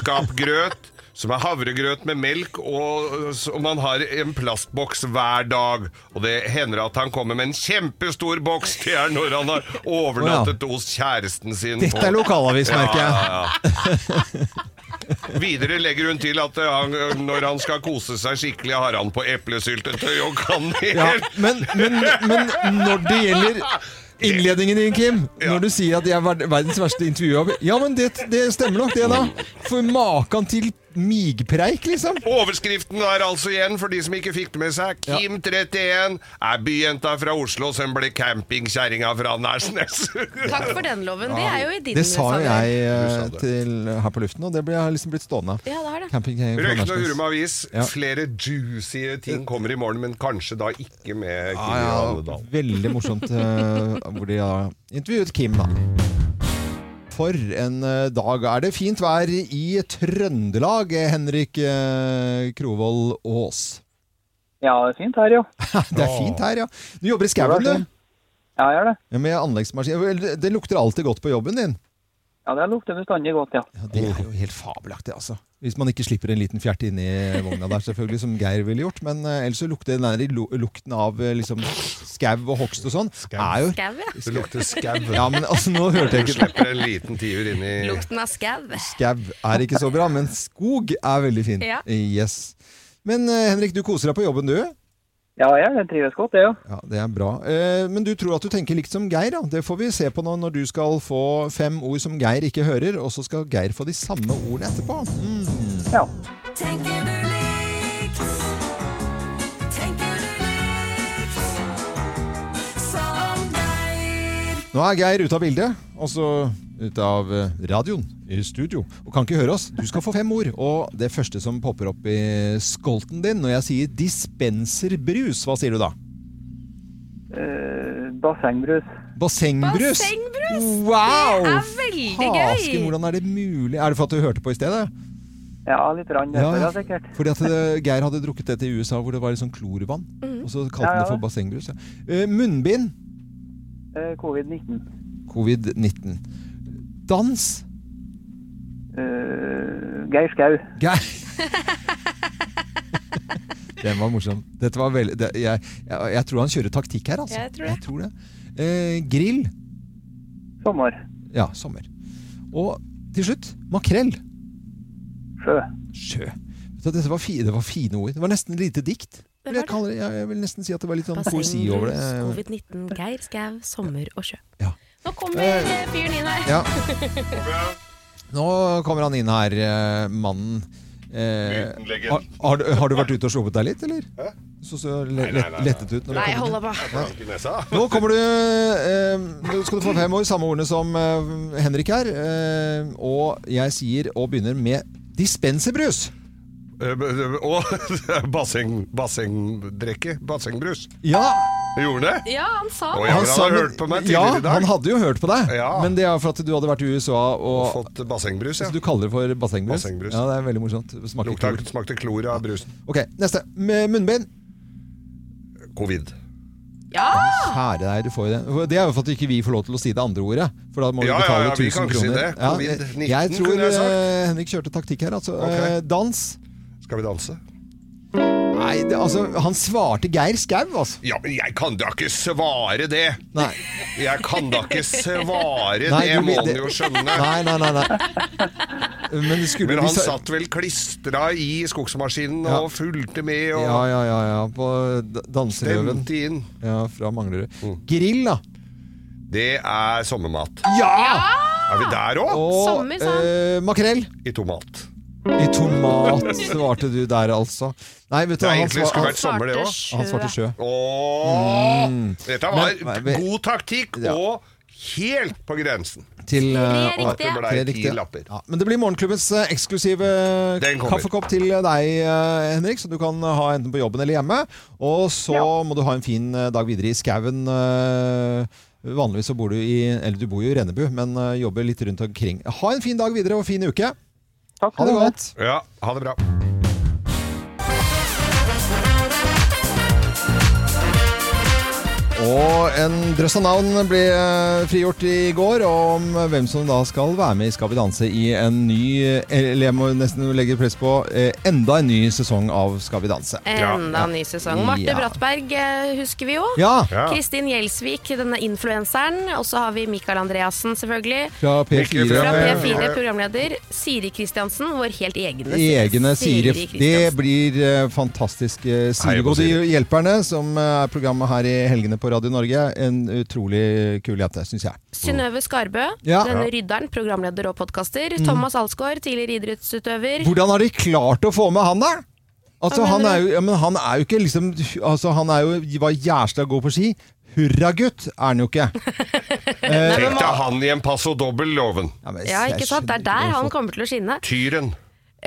B: kjøleskapgrøt. Som er havregrøt med melk, og, og man har en plastboks hver dag. Og det hender at han kommer med en kjempestor boks. Det er når han har overnattet hos kjæresten sin.
A: Dette
B: på-
A: er lokalavis, merker jeg.
B: Videre legger hun til at eh, han, når han skal kose seg skikkelig, har han på eplesyltetøy og kanel.
A: Ja, men, men, men når det gjelder innledningen din, Kim Når du sier at jeg er verd- verdens verste intervjuer Ja, men det, det stemmer nok, det, da. For maken til migpreik, liksom.
B: Overskriften er altså igjen, for de som ikke fikk det med seg, Kim 31 er byjenta fra Oslo som ble campingkjerringa fra Nærsnes.
E: Takk for den loven. Det er jo i din
A: Det sa jo
E: sammenheng.
A: jeg eh,
B: Du sa det.
A: til, her på luften, og det ble, har liksom blitt stående.
E: Ja, det har det.
A: Camping
B: Røyken og Hurum Avis,
A: Ja.
B: flere juicy ting kommer i morgen, men kanskje da ikke med Kim
A: Ah, Ja,
B: Johanne
A: ja,
B: Dahl.
A: veldig morsomt eh, hvor de har intervjuet Kim, da. for en eh, dag. Er det fint vær i Trøndelag, eh, Henrik eh, Krovold Aas?
F: Ja, det er fint her, jo.
A: Det er fint her, ja. Du jobber i skauen,
F: Det er
A: du?
F: Ja, jeg gjør det.
A: Ja, Med anleggsmaskin. Vel, Det lukter alltid godt på jobben din.
F: Ja, det lukter bestandig godt, ja.
A: Ja, det er jo helt fabelaktig, altså. Hvis man ikke slipper en liten fjert inni vogna der, selvfølgelig, som Geir ville gjort. Men eh, ellers så lukter den der i lu- lukten av eh, liksom, skau og hogst og sånn, er jo
E: Skau, ja.
B: Det lukter skau.
A: Ja, men altså, nå hørte jeg
B: Du
A: ikke Eh,
B: slipper en liten tiur inn i
E: Lukten av skau.
A: Skau er ikke så bra, men skog er veldig fint.
E: Ja.
A: Yes. Men eh, Henrik, du koser deg på jobben, du?
F: Ja, jeg trives godt, det, jo.
A: Ja, Det er bra. Eh, Men du tror at du tenker likt som Geir, da. Det får vi se på nå når du skal få fem ord som Geir ikke hører, og så skal Geir få de samme ordene etterpå. Mm.
F: Ja.
G: Tenker du likt? Tenker du likt? Som deg?
A: Nå er Geir ute av bildet, altså ute av eh, radioen i studio, og kan ikke høre oss. Du skal få fem ord, og det første som popper opp i skolten din når jeg sier dispenserbrus, hva sier du da?
F: Eh, bassengbrus.
A: Bassengbrus?
E: Bassengbrus!
A: Wow!
E: Det er veldig
A: Hasken,
E: gøy!
A: hvordan er det mulig? Er det for at du hørte på i stedet?
F: Ja, litt rann derfor, ja, sikkert.
A: Fordi at eh, Geir hadde drukket dette i USA hvor det var litt sånn klorvann, og så kalte
F: Ja,
A: han
F: ja.
A: det for bassengbrus. Ja. Eh, Munnbind,
F: Eh, Covid-19.
A: covid-19. Dans,
F: Eh, Geir Skau.
A: Geir. Den var morsom. Dette var veldig det, jeg, jeg, jeg tror han kjører taktikk her, altså.
E: Jeg tror det.
A: det. Eh, grill.
F: Sommer.
A: Ja, sommer. Og til slutt makrell.
F: Sjø.
A: Sjø. Vet du, Dette var, fi, det var fine ord. Det var nesten et lite dikt.
E: Det
A: Vil jeg,
E: var det.
A: kalle det, jeg, jeg vil nesten si at det var litt sånn poesi over det.
E: Bassengbrus, covid-19, Geir Skau, sommer og sjø.
A: Ja.
E: Nå kommer eh, fyren inn her.
A: Ja. Nå kommer han inn her, eh, mannen. Eh, har, har, du- har du vært ute og sluppet deg litt, eller? Så så le,
B: nei, nei.
A: lettet ut? når du
E: Nei,
A: kom inn?
E: hold opp. da.
B: Blank i nesa.
A: Nå kommer du eh, Nå skal du få fem ord, samme ordene som eh, Henrik her. Eh, og jeg sier og begynner med dispenserbrus.
B: Eh, b- b- Og basseng, bassengdrikke. Bassengbrus.
A: Ja,
B: Gjorde han det?
E: Ja, han sa
B: Å, ja, men han
A: sa-
B: hadde hørt på meg
A: ja,
B: tidligere i dag.
A: han hadde jo hørt på deg,
B: Ja.
A: men det er for at du hadde vært i USA
B: Og
A: og
B: fått bassengbrus, ja.
A: så du kaller det for bassengbrus?
B: Bassengbrus.
A: Ja, det er veldig morsomt. Det Smaker
B: Lukta,
A: klor.
B: smakte klor av brusen.
A: Ok, neste. Med munnbind.
B: Covid.
A: Kjære deg, du får jo det. Det er jo for at ikke vi får lov til å si det andre ordet. For da må vi
B: Ja, ja,
A: betale
B: ja, vi
A: 1000
B: kan ikke si
A: kroner. eh,
B: det. Covid-19
A: jeg tror
B: kunne jeg sagt.
A: eh, Henrik kjørte taktikk her, altså.
B: Ok.
A: Eh, Dans.
B: Skal vi danse?
A: Nei, det, altså, han svarte Geir Skau, altså.
B: Ja, men jeg kan da ikke svare det!
A: Nei,
B: Jeg kan da ikke svare
A: Nei,
B: det,
A: du-
B: må han
A: det-
B: jo skjønne.
A: nei, nei. nei, nei. Men det skulle
B: Men
A: de
B: han
A: sa-
B: satt vel klistra i skogsmaskinen
A: Ja.
B: og fulgte med og
A: Ja, ja, ja, ja. På d- danseløven
B: stemte inn.
A: ja, fra Manglerud.
B: Mm.
A: Grill, da.
B: Det er sommermat.
A: Ja!
B: Er vi der òg?
A: Og
E: Sommer, sa han.
A: eh, makrell.
B: I tomat.
A: I tomat svarte du der, altså. Nei, vet du hva,
B: Det er
A: han,
B: egentlig
A: sva-
B: skulle
A: han,
B: vært sommer, det òg.
A: han svarte sjø.
B: Åh, Dette var
A: Mm. Men- men-
B: god taktikk
A: Ja.
B: og helt på grensen.
A: Til, eh,
E: Tre
A: å-
E: riktige.
B: Det ble
A: tre
B: ti
A: riktige.
B: lapper.
A: Ja, men det blir morgenklubbens eh, eksklusive eh,
B: Den kommer.
A: kaffekopp til deg, eh, Henrik, som du kan ha enten på jobben eller hjemme. Og så må du ha en fin eh, dag videre i skauen. eh, Vanligvis så bor du i Eller du bor jo i Rennebu, men eh, jobber litt rundt omkring. Ha en fin dag videre og fin uke.
F: Takk
A: Ha
F: skal
A: det
F: du ha.
A: godt.
B: Ja, ha det bra.
A: Og en drøss av navn ble eh, frigjort i går om hvem som da skal være med i Skal vi danse i en ny eh, Eller jeg må nesten legge press på eh, enda en ny sesong av Skal vi danse.
E: Enda en ny sesong. Marte
A: Ja.
E: Brattberg eh, husker vi jo.
A: Ja!
B: Ja.
E: Kristin Gjelsvik, denne influenseren. Og så har vi Mikael Andreassen, selvfølgelig.
A: Fra P4.
E: Fra
B: Ja,
E: P4,
B: ja.
E: programleder. Siri Kristiansen, vår helt egne,
A: Egne Siri. Det
E: Kristiansen.
A: blir eh, fantastisk. eh, Siri
B: Hei på
A: og de
B: Siri.
A: hjelperne, som eh, er programmet her i helgene på Radio Norge. En utrolig kul jente, syns jeg.
E: Synnøve Skarbø,
A: Ja. Mm.
E: denne rydderen, programleder og podkaster. Thomas Alsgaard, tidligere idrettsutøver.
A: Hvordan har de klart å få med han, da? Altså,
E: Hva
A: han
E: mener
A: er jo, ja, men han er jo ikke liksom altså, Han er jo, var jævla god på ski. Hurragutt er han jo ikke. Eh,
B: Tenk deg han i en passo dobbel-loven.
A: Ja, men
E: Ja,
A: jeg
E: ikke sant?
A: skjønner
E: Det er der
A: ikke
E: han
A: hvorfor-
E: kommer til å skinne.
B: Tyren.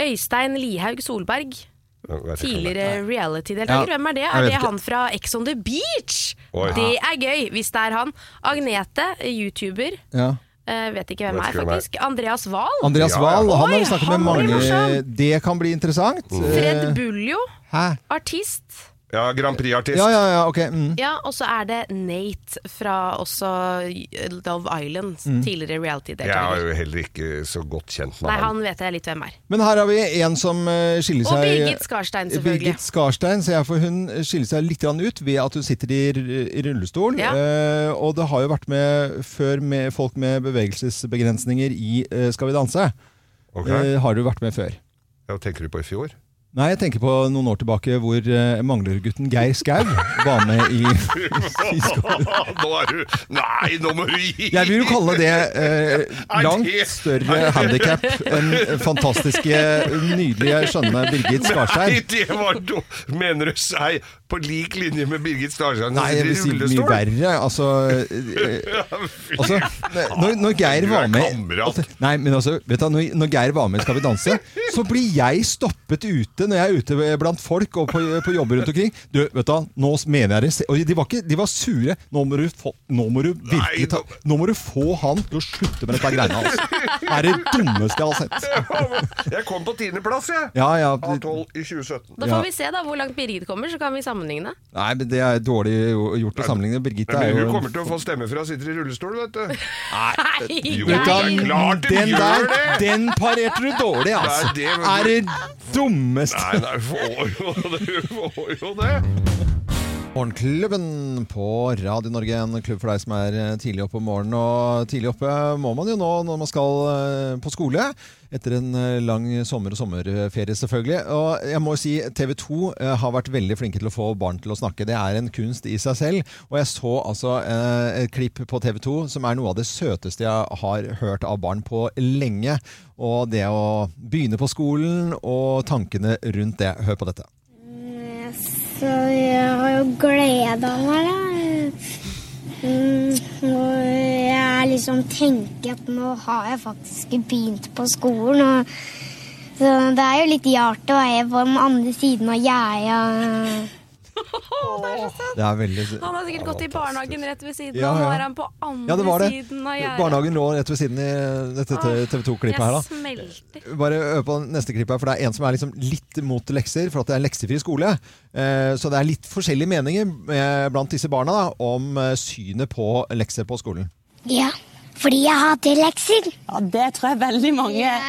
E: Øystein Lihaug Solberg,
B: Jeg vet ikke om det-
E: tidligere reality-deltaker.
A: Ja,
E: Hvem er det?
A: jeg
E: Er
A: vet
E: det
A: ikke.
E: han fra Ex on the Beach?
B: Oi.
E: Det er gøy, hvis det er han. Agnete, YouTuber.
A: ja.
E: Eh, vet ikke hvem
B: Vet
E: er,
B: ikke hvem er.
E: faktisk. Andreas Wahl.
A: Andreas
B: Ja, ja.
A: Wahl, han har
E: Oi,
A: vi snakket med
E: han blir
A: mange
E: morsom.
A: Det kan bli interessant.
B: Mm.
E: Fred
A: Eh,
E: Buljo,
A: Hæ?
E: artist.
B: Ja, Grand Prix-artist.
A: Ja, ja, ja, ok. Mm.
E: Ja, og så er det Nate fra også Love Island, tidligere
B: Jeg er
E: reality-deltaker.
B: jo heller ikke så godt kjent med
E: Nei,
B: han.
E: han vet jeg litt hvem er.
A: Men her har vi en som eh, skiller
E: Og
A: seg
E: Birgit Skarstein, selvfølgelig.
A: Birgit Skarstein, ser jeg, for hun skiller seg litt grann ut ved at hun sitter i, r- i rullestol.
E: Ja.
A: Eh, og det har jo vært med før med folk med bevegelsesbegrensninger i eh, Skal vi danse.
B: Ok,
A: Eh, har du vært med før?
B: ja, Tenker du på i fjor?
A: Nei, jeg tenker på noen år tilbake hvor eh, manglergutten Geir Skau var med i
B: nå er du Nei, nå må du gi!
A: Jeg vil jo kalle det eh, langt større handikap enn fantastiske, nydelige, skjønne Birgit
B: Nei,
A: Skarstein.
B: det var do... Mener du seg på lik linje med Birgit Skarstein?
A: Nei, jeg vil si mye verre. Altså, eh, altså når, når Geir
B: Du er
A: var med
B: kamerat.
A: altså, Nei, men altså, vet du, når, når Geir var med i Skal vi danse, så blir jeg stoppet ute når jeg er ute blant folk og på, på jobber rundt omkring. Du, vet du, nå mener jeg det. Se- Og de var, ikke, de var sure. Nå må du, få, nå må du
B: Nei,
A: virkelig ta
B: nå-
A: Nå må du få han til å slutte med dette greiene hans. Det er det dummeste jeg har sett.
B: Jeg kom på tiendeplass, jeg!
A: Ja, ja.
B: Av tolv i 2017.
E: Da
A: Ja.
E: får vi se da hvor langt Birgit kommer, så kan vi sammenligne.
A: Nei, men det er dårlig gjort å sammenligne. Birgitte
B: Men
A: er jo
B: hun kommer til å få stemme fra hun sitter i rullestol, vet du.
E: Nei,
A: Vet du,
B: Jo, det er
E: Geir!
B: klart hun
A: den
B: gjør
A: der,
B: det!
A: den parerte du dårlig, altså.
B: Det er det-
A: er det dummeste
B: Nei, nei, hun får jo det. Hun får jo det.
A: Morgenklubben på Radio Norge, en klubb for deg som er eh, tidlig oppe om morgenen. Og tidlig oppe må man jo nå når man skal eh, på skole, etter en eh, lang sommer- og sommerferie selvfølgelig. Og jeg må jo si TV 2 eh, har vært veldig flinke til å få barn til å snakke. Det er en kunst i seg selv. Og jeg så altså eh, et klipp på TV 2 som er noe av det søteste jeg har hørt av barn på lenge. Og det å begynne på skolen og tankene rundt det. Hør på dette.
H: Så jeg har jo gleda meg, da. Mm, og jeg liksom tenker at nå har jeg faktisk begynt på skolen. Og, så det er jo litt jart å være på den andre siden av gjerdet.
A: Det er veldig sø-
E: Han har sikkert gått i barnehagen rett ved siden,
A: Ja,
E: og nå
A: ja.
E: er han på andre
A: Ja, det var det.
E: siden av gjerdet.
A: Barnehagen lå rett ved siden i dette TV 2-klippet her.
E: Jeg
A: da.
E: smelter.
A: Bare øve på neste klipp her, for det er en som er liksom litt mot lekser, for at det er en leksefri skole. Eh, Så det er litt forskjellige meninger eh, blant disse barna da, om eh, synet på lekser på skolen.
H: Ja, fordi jeg hater lekser.
I: Ja, det tror jeg veldig mange
H: Jeg,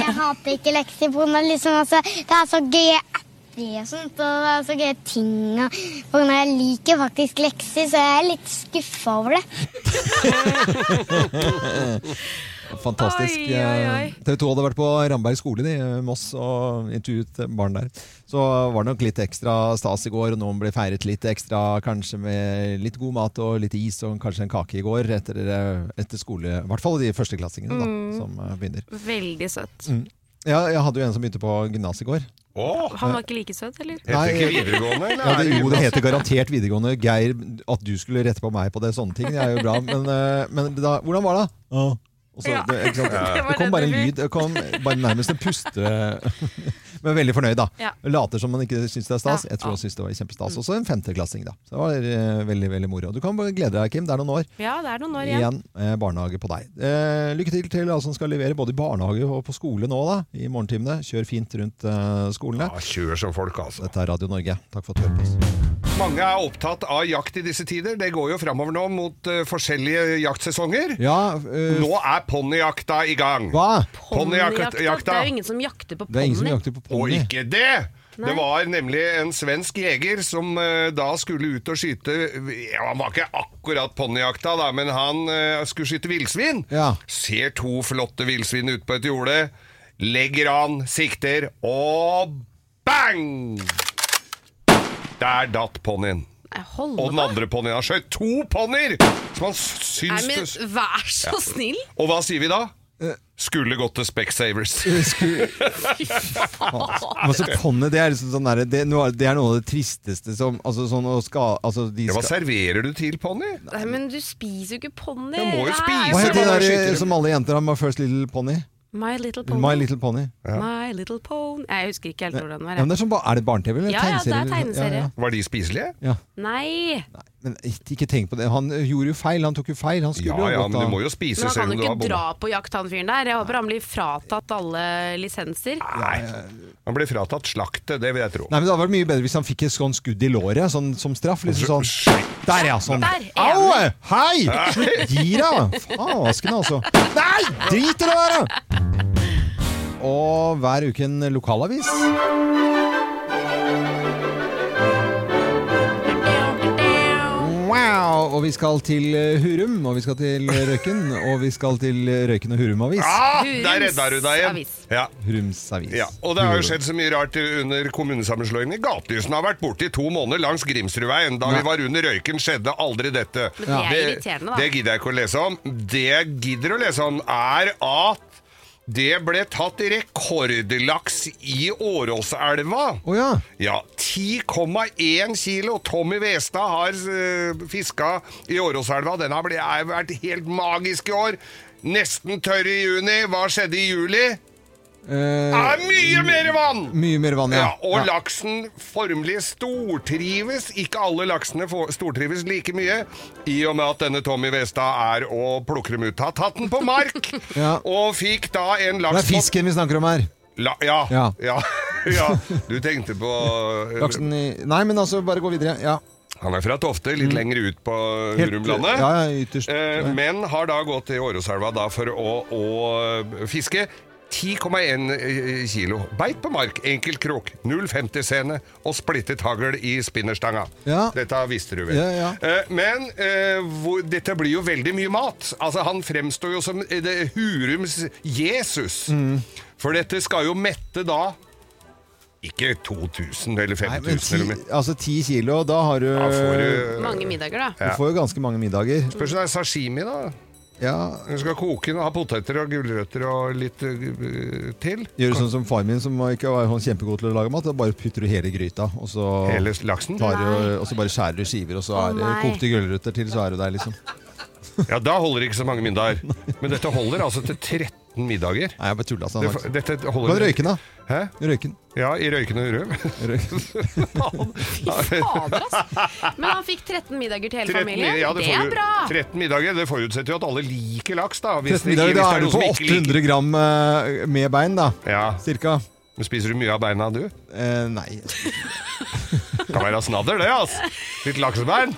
H: jeg hater ikke lekser på grunn av liksom, altså, det er så gøye apper og sånt, og det er så gøye ting. Og, på grunn av jeg liker faktisk lekser, så jeg er litt skuffa over det.
A: Fantastisk.
E: Oi, oi, oi.
A: TV 2 hadde vært på Ramberg skole i eh, Moss og intervjuet eh, barn der. Så var det nok litt ekstra stas i går, og noen ble feiret litt ekstra, kanskje med litt god mat og litt is og kanskje en kake i går etter, eh, etter skole. I hvert fall de førsteklassingene da,
E: Mm.
A: som eh, begynner.
E: Veldig søt.
A: Mm, Ja, jeg hadde jo en som begynte på gymnas i går.
B: Å!
E: Han var ikke like søt, eller?
A: Nei,
B: Heter ikke videregående, eller?
A: Ja, det, jo, det
B: gymnas?
A: heter garantert videregående. Geir, at du skulle rette på meg på det, sånne ting, det er jo bra. Men, eh, men da, hvordan var det? Ja. Og så,
E: Ja.
A: det, ikke sant?
E: Ja.
A: det kom bare en lyd. Det kom bare nærmest en puste Men veldig fornøyd, da.
E: Ja.
A: Later som man ikke syns det er stas.
E: Ja. Mm.
A: Jeg tror han syns det var kjempestas. Også en femteklassing, da. Så det var eh, veldig, veldig moro. Du kan bare glede deg, Kim. Det er noen år
E: Ja, det er noen år igjen.
A: igjen. eh, barnehage på deg. Eh, lykke til til alle som skal levere både i barnehage og på skole nå, da. I morgentimene. Kjør fint rundt eh, skolene.
B: Ja, kjør som folk, altså.
A: Dette er Radio Norge. Takk for at du hørte oss.
B: Mange er opptatt av jakt i disse tider. Det går jo framover nå mot eh, forskjellige jaktsesonger.
A: Ja, eh,
B: Nå er ponnijakta i gang.
A: hva?
E: Ponnijakta.
B: Ponnijakta.
E: Det er jo ingen som jakter på
A: Det er ingen som
E: ponni.
A: jakter på
B: Og
A: ponni.
B: ikke det!
E: Nei.
B: Det var nemlig en svensk jeger som eh, da skulle ut og skyte ja, Han var ikke akkurat ponnijakta, da, men han eh, skulle skyte villsvin.
A: Ja.
B: Ser to flotte villsvin ute på et jorde, legger an, sikter, og bang! Der datt ponnien.
E: Jeg holder
B: Og den
E: på.
B: andre ponnien. Han skjøt to ponnier! Som han
E: Nei,
B: syns
E: men
B: det-
E: vær så snill!
B: Og hva sier vi da? Skulle gått til Specsavers. Ah,
A: Altså, ponni, det er liksom sånn der, det, noe- det er noe av det tristeste som Altså, sånn å skal... Altså, de
B: Ja, hva
A: skal
B: serverer du til ponni?
E: Nei, men du spiser jo ikke ponni!
B: Jeg må jo
E: Det er
A: hva
B: spise
E: jo-
A: heter det der
B: Skyter.
A: eh, som alle jenter har med First Little Pony?
E: My Little Pony.
A: My Little Pony.
E: My Little Pony Jeg husker ikke helt hvordan
A: Ja,
E: den var.
A: men
E: jeg.
A: det er, sånn, ba- er det barne-TV eller
E: Ja, ja, det er
A: tegneserie?
E: tegneserie.
B: Var de spiselige?
A: Ja, ja.
E: Nei!
A: Men eh, ikke tenk på det. Han eh, gjorde jo feil. Han tok jo feil. Han skulle
B: Ja,
A: jo
B: ja,
A: ha gått
B: men du
A: av.
B: må jo
E: Men
B: spise
E: han
B: selv
E: kan
B: om du
E: jo
B: har
E: ikke dra
B: bomma.
E: på jakt, han fyren der. Jeg håper han blir fratatt alle lisenser.
B: Nei. Han ble fratatt slaktet, det vil jeg tro.
A: Nei, men Det hadde vært mye bedre hvis han fikk et sånn skudd i låret sånn, som straff. liksom sånn. Der, ja! Sånn.
E: Der, enig.
A: Au! Hei! Slutt! Gi deg! Fasken, altså. Nei! Drit i det der! da! Og hver uke en lokalavis. Wow! Og vi skal til eh, Hurum, og vi skal til eh, Røyken, og vi skal til eh, Røyken og Hurum-avis.
B: Ah,
E: Hurums
B: der redda du deg igjen!
E: avis.
B: Ja.
A: Hurums avis.
B: Ja, og det har jo skjedd så mye rart under kommunesammenslåingen. Gatelysen har vært borte i to måneder langs Grimsrudveien. Da vi var under røyken, skjedde aldri dette.
E: Men det er irriterende, da.
B: Det gidder jeg ikke å lese om. Det jeg gidder å lese om, er at det ble tatt rekordlaks i Åråselva.
A: Å ja.
B: Ja, 10,1 kilo. Tommy Westad har uh, fiska i Åråselva. Den har blitt- er- vært helt magisk i år. Nesten tørr i juni. Hva skjedde i juli? Det
A: Eh,
B: er mye mer vann!
A: mye mer vann, ja.
B: Ja, og laksen formelig stortrives. Ikke alle laksene får- stortrives like mye, i og med at denne Tommy Westad er å plukke dem ut. Har tatt den på mark,
A: Ja.
B: og fikk da
A: Det
B: en
A: er
B: laks på
A: fisken vi snakker om her.
B: La, ja,
A: Ja.
B: ja. ja, Du tenkte på eh,
A: Laksen i Nei, men altså, bare gå videre. Ja.
B: Han er fra Tofte, litt lenger ut på
A: Mm. Helt-
B: Hurumlandet.
A: ja, ja, ytterst.
B: Eh, men har da gått til Åråselva da for å, å eh, fiske. 10,1 eh, kilo. Beit på mark, enkel krok, 0,50-scene og splittet hagl i spinnerstanga.
A: Ja.
B: Dette visste du vel.
A: Ja, ja.
B: Eh, Men eh, hvor, dette blir jo veldig mye mat. Altså, han fremstår jo som eh, det, Hurums Jesus.
A: Mm.
B: For dette skal jo mette da ikke 2000
A: Nei,
B: eller 5000
A: men ti, Eh,
B: eller mer.
A: altså ti kilo, da har du
B: Da får du
E: Mange middager, da.
A: Du får jo ganske mange middager.
B: Spørs om det er sashimi, da.
A: Ja,
B: Du skal koke den og ha poteter og gulrøtter og litt øh, til.
A: Gjør det sånn som far min, som ikke var sånn kjempegod til å lage mat. Da bare putter du hele gryta, og så,
B: Hele laksen.
A: tar du, og så bare skjærer du skiver, og så
E: Å,
A: er det
E: nei.
A: kokte gulrøtter til, så er du der, liksom.
B: Ja, da holder det ikke så mange middager. Men dette holder altså til 13 middager.
A: Nei, jeg bare tulla sånn.
B: Det,
A: faktisk.
B: dette
A: Men
B: holder
A: røyken, da?
B: Hæ?
A: Røyken.
B: Ja, i røykende røv.
A: Røyken.
E: Fader, ass. Men han fikk 13 middager til hele
B: 13,
E: familien.
B: ja,
E: det,
B: får
E: er
B: du-
E: bra!
B: 13 middager, det forutsetter jo at alle liker laks, da. Hvis
A: 13 middager,
B: det-
A: da
B: hvis det
A: er du på
B: noen som ikke liker-
A: 800 gram eh, med bein, da.
B: Ja,
A: Cirka.
B: men Spiser du mye av beina, du?
A: Eh, nei.
B: Kan være snadder, det, altså. Litt laksebein.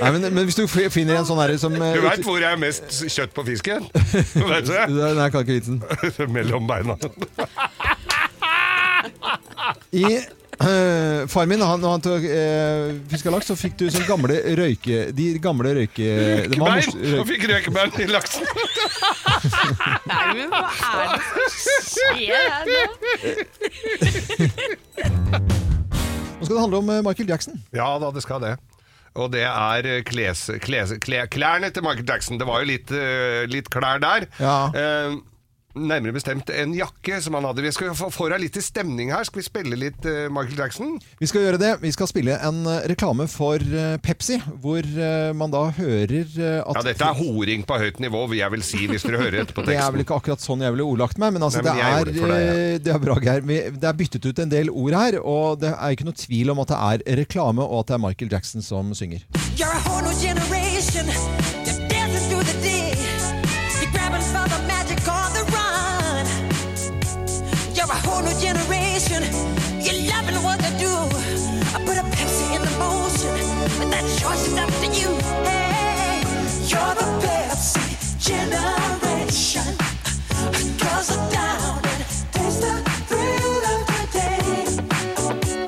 A: nei men, men hvis du f- finner en sånn herre som eh,
B: Du
A: ut-
B: veit hvor jeg er mest kjøtt på fisken? Vet du?
A: Nei, jeg kan ikke vitsen.
B: det? Mellom beina.
A: I øh, Far min, han, når han tok øh, fiska laks, så fikk du sånne gamle røyke... De gamle røyke... det var
B: Bein!
A: mors-
B: Og fikk røkebein i laksen.
E: Nei, men hva er det som skjer her nå?
A: Nå skal det handle om øh, Michael Jackson.
B: Ja da, det skal det. Og det er eh, kles, kles, kle, klærne til Michael Jackson. Det var jo litt, eh, litt klær der.
A: Ja.
B: Eh, nærmere bestemt en jakke som han hadde. Vi skal få, få deg litt i stemning her. Skal vi spille litt eh, Michael Jackson?
A: Vi skal gjøre det. Vi skal spille en øh, reklame for øh, Pepsi, hvor øh, man da hører øh, at
B: Ja, dette er horing på høyt nivå, vil jeg vil si, hvis dere hører etter på
A: Det er vel
B: teksten.
A: ikke akkurat sånn jeg ville ordlagt meg, men, altså,
B: Nei, men jeg
A: det,
B: gjorde det
A: er,
B: for deg,
A: eh, det er bra, Geir. Vi- Det er byttet ut en del ord her, og det er ikke noe tvil om at det er reklame, og at det er Michael Jackson som synger.
G: You're a whole new generation, just dancing through the day. You're grabbing for the magic on the run. You're a whole new generation, you're loving what you do. I put a Pepsi in the motion, but that choice is up to you. Hey, you're the Pepsi generation. Girls are down and taste the thrill of the day.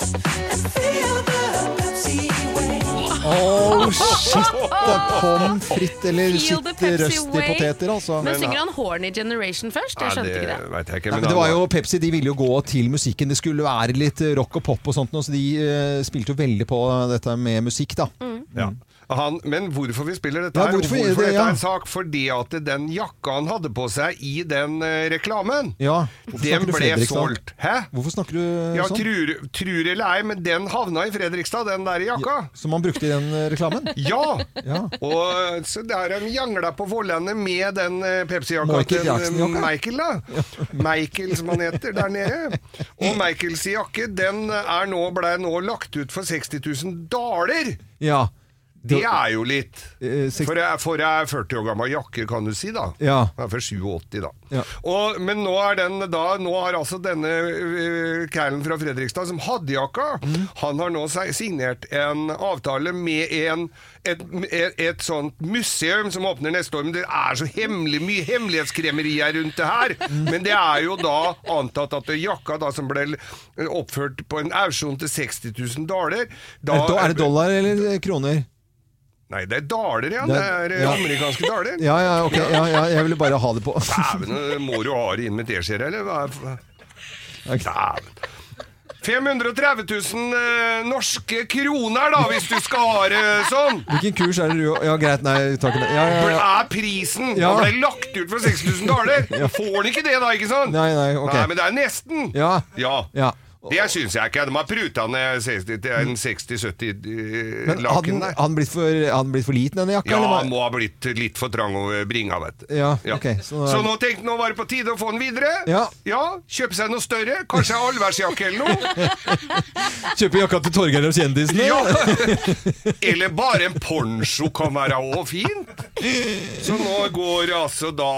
G: And feel the Pepsi way.
A: Oh, shit! Det kom fritt eller
E: Feel the
A: sitt
E: Pepsi
A: røst i
E: way.
A: poteter, altså.
E: Men synger han Horny Generation først? Jeg skjønte ikke det.
B: veit jeg ikke.
A: Nei,
B: Men,
A: men det var
B: han-
A: jo Pepsi, de ville jo gå til musikken. Det skulle være eh,
E: Mm.
A: litt rock og pop og sånt, nå, så de eh, spilte jo veldig på dette med eh, musikk, da.
B: Ja. Han, men hvorfor vi spiller dette
A: Ja,
B: her, og
A: hvorfor
B: hvorfor
A: er det,
B: dette
A: ja.
B: er en sak, fordi at den jakka han hadde på seg i den eh, reklamen,
A: Ja, hvorfor snakker
B: den
A: du
B: ble
A: Fredrikstad?
B: solgt. Hæ?
A: Hvorfor snakker du
B: Ja,
A: sånn?
B: trur, trur eller ei, men den havna i Fredrikstad, den der jakka.
A: Som han brukte i den eh, reklamen?
B: Ja!
A: Ja.
B: Og så der de jangla på Vollane med den eh, Pepsi-jakka
A: Michael
B: til eh,
A: Jackson-jakka?
B: Michael, da. Michael, som han heter der nede. Og Michaels jakke, den er nå, ble nå lagt ut for 60 000 daler!
A: Ja.
B: Det er jo litt.
A: Eh, seks-
B: For jeg, for jeg er 40 år gammel jakke, kan du si, da.
A: Ja.
B: Jeg er for 87, da.
A: Ja.
B: Og, men nå, er den, da, nå har altså denne uh, callen fra Fredrikstad, som hadde jakka,
A: Mm.
B: han har nå si- signert en avtale med en, et, et, et sånt museum som åpner neste år. Men det er så hemmelig mye hemmelighetskremerier rundt det her.
A: Mm.
B: Men det er jo da antatt at jakka da, som ble oppført på en auksjon til 60 000 daler da,
A: Er det- Er det dollar eller eh, kroner?
B: Nei, det er daler, ja. Det
A: Det
B: er, eh,
A: er- ja.
B: amerikanske daler.
A: Ja, ja, ok. Ja, ja, jeg ville bare ha det på.
B: Dæven, må du ha det inn med teskjeer, eller? Hva er- Dæven. 530 000 eh, norske kroner, da, hvis du skal ha det sånn!
A: Hvilken kurs er det du Ja, greit, nei, takk. Ja, ja,
B: For det
A: ja.
B: er prisen!
A: Ja.
B: Den ble lagt ut for 6000 daler! Får den ikke det, da, ikke sant?
A: Nei, nei, ok.
B: nei men det er nesten!
A: Ja.
B: ja.
A: ja. Mm.
B: Det syns jeg ikke. De har pruta ned 60 til en 60-70 eh,
A: Men hadde
B: laken
A: den-
B: der.
A: hadde den blitt for, hadde den blitt for liten, denne jakka?
B: Ja,
A: eller hva?
B: han må ha blitt litt for trang over bringa, vet du.
A: Ja, ok,
B: Så,
A: så-
B: nå tenkte han nå var det på tide å få den videre.
A: Ja.
B: Kjøpe seg noe større. Kanskje en allværsjakke eller noe.
A: Kjøpe jakka til Torgeir og kjendisene?
B: Ja. Eller bare en poncho kan være òg fint. Så nå går altså da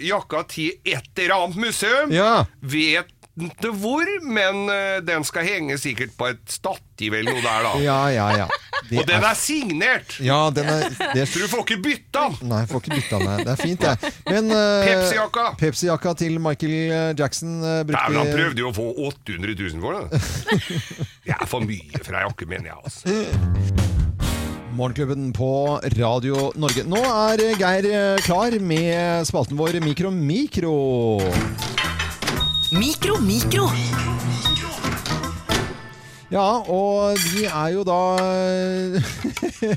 B: jakka til et eller annet museum.
A: Ja.
B: Vet ikke hvor, men eh, den skal henge sikkert på et stativ eller noe der, da.
A: ja, ja. ja. Det
B: Og den er signert!
A: Ja, den er det,
B: Du får ikke bytta den!
A: Nei, får ikke bytta den her. Det er fint, jeg. Men eh,
B: Pepsi-jakka.
A: Pepsi-jakka til Michael Jackson eh,
B: Dæven,
A: brukte
B: han prøvde jo å få 800 000 for det. Det er for mye fra jakke, mener jeg. Altså.
A: Morgenklubben på Radio Norge. Nå er Geir eh, klar med spalten vår Mikro Mikro.
G: Mikro, mikro.
A: Ja, og vi er jo da eh,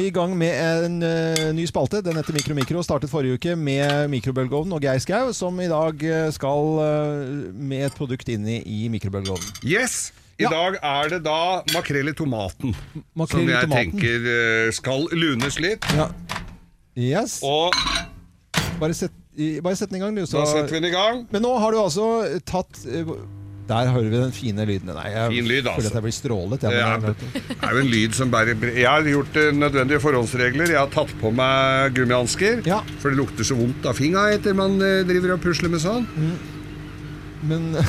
A: i gang med en eh, ny spalte. Den heter Mikro Mikro. Startet forrige uke med mikrobølgeovnen og Geir Skau, som i dag eh, skal eh, med et produkt inn i, i mikrobølgeovnen.
B: Yes! I
A: Ja.
B: dag er det da makrell i tomaten.
A: Makrell i
B: som jeg
A: tomaten.
B: tenker eh, skal lunes litt.
A: Ja. Yes.
B: Og
A: Bare sett, i- bare sett den i gang, du. Så.
B: da setter vi den i gang.
A: Men nå har du altså tatt eh, Der hører vi den fine lyden. Nei, jeg
B: Fin lyd, altså.
A: føler at jeg blir strålet. Jeg,
B: Ja,
A: men, jeg-
B: Det er jo en lyd som bærer bre- Jeg har gjort eh, nødvendige forholdsregler. Jeg har tatt på meg gummihansker,
A: Ja.
B: for det lukter så vondt av fingra etter man eh, driver og pusler med sånn.
A: men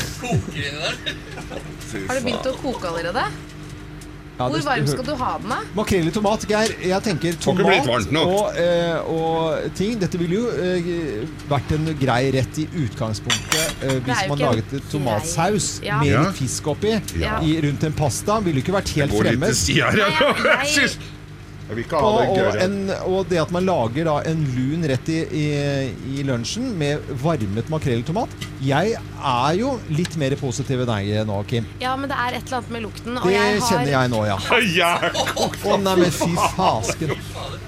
E: Har det begynt å koke allerede?
A: ja,
E: Hvor varm skal du ha den, da?
A: Makrell i tomat, Geir. Jeg tenker
B: ikke bli
A: tomat
B: varmt nok.
A: og, eh, og ting. Dette ville jo eh, vært en grei rett i utgangspunktet eh,
E: Det er
A: hvis
E: jo
A: man
E: ikke en
A: laget tomatsaus
E: grei- Ja.
A: med
B: Ja.
A: litt fisk oppi
E: Ja.
A: i, rundt en pasta. Ville jo ikke vært helt
B: Går litt til
A: fremmed.
B: sida her.
E: Nei, jeg-
B: Jeg synes- Jeg vil ikke ha
A: Og,
B: den
A: og,
B: gørra.
A: en, og det at man lager da en lun rett i, i, i lunsjen med varmet makrell i tomat Jeg er jo litt mer positiv enn deg nå, Kim.
E: Ja, men det er et eller annet med lukten. Og
A: Det
E: jeg har,
A: kjenner jeg nå, ja. Å nei, men fy fasken.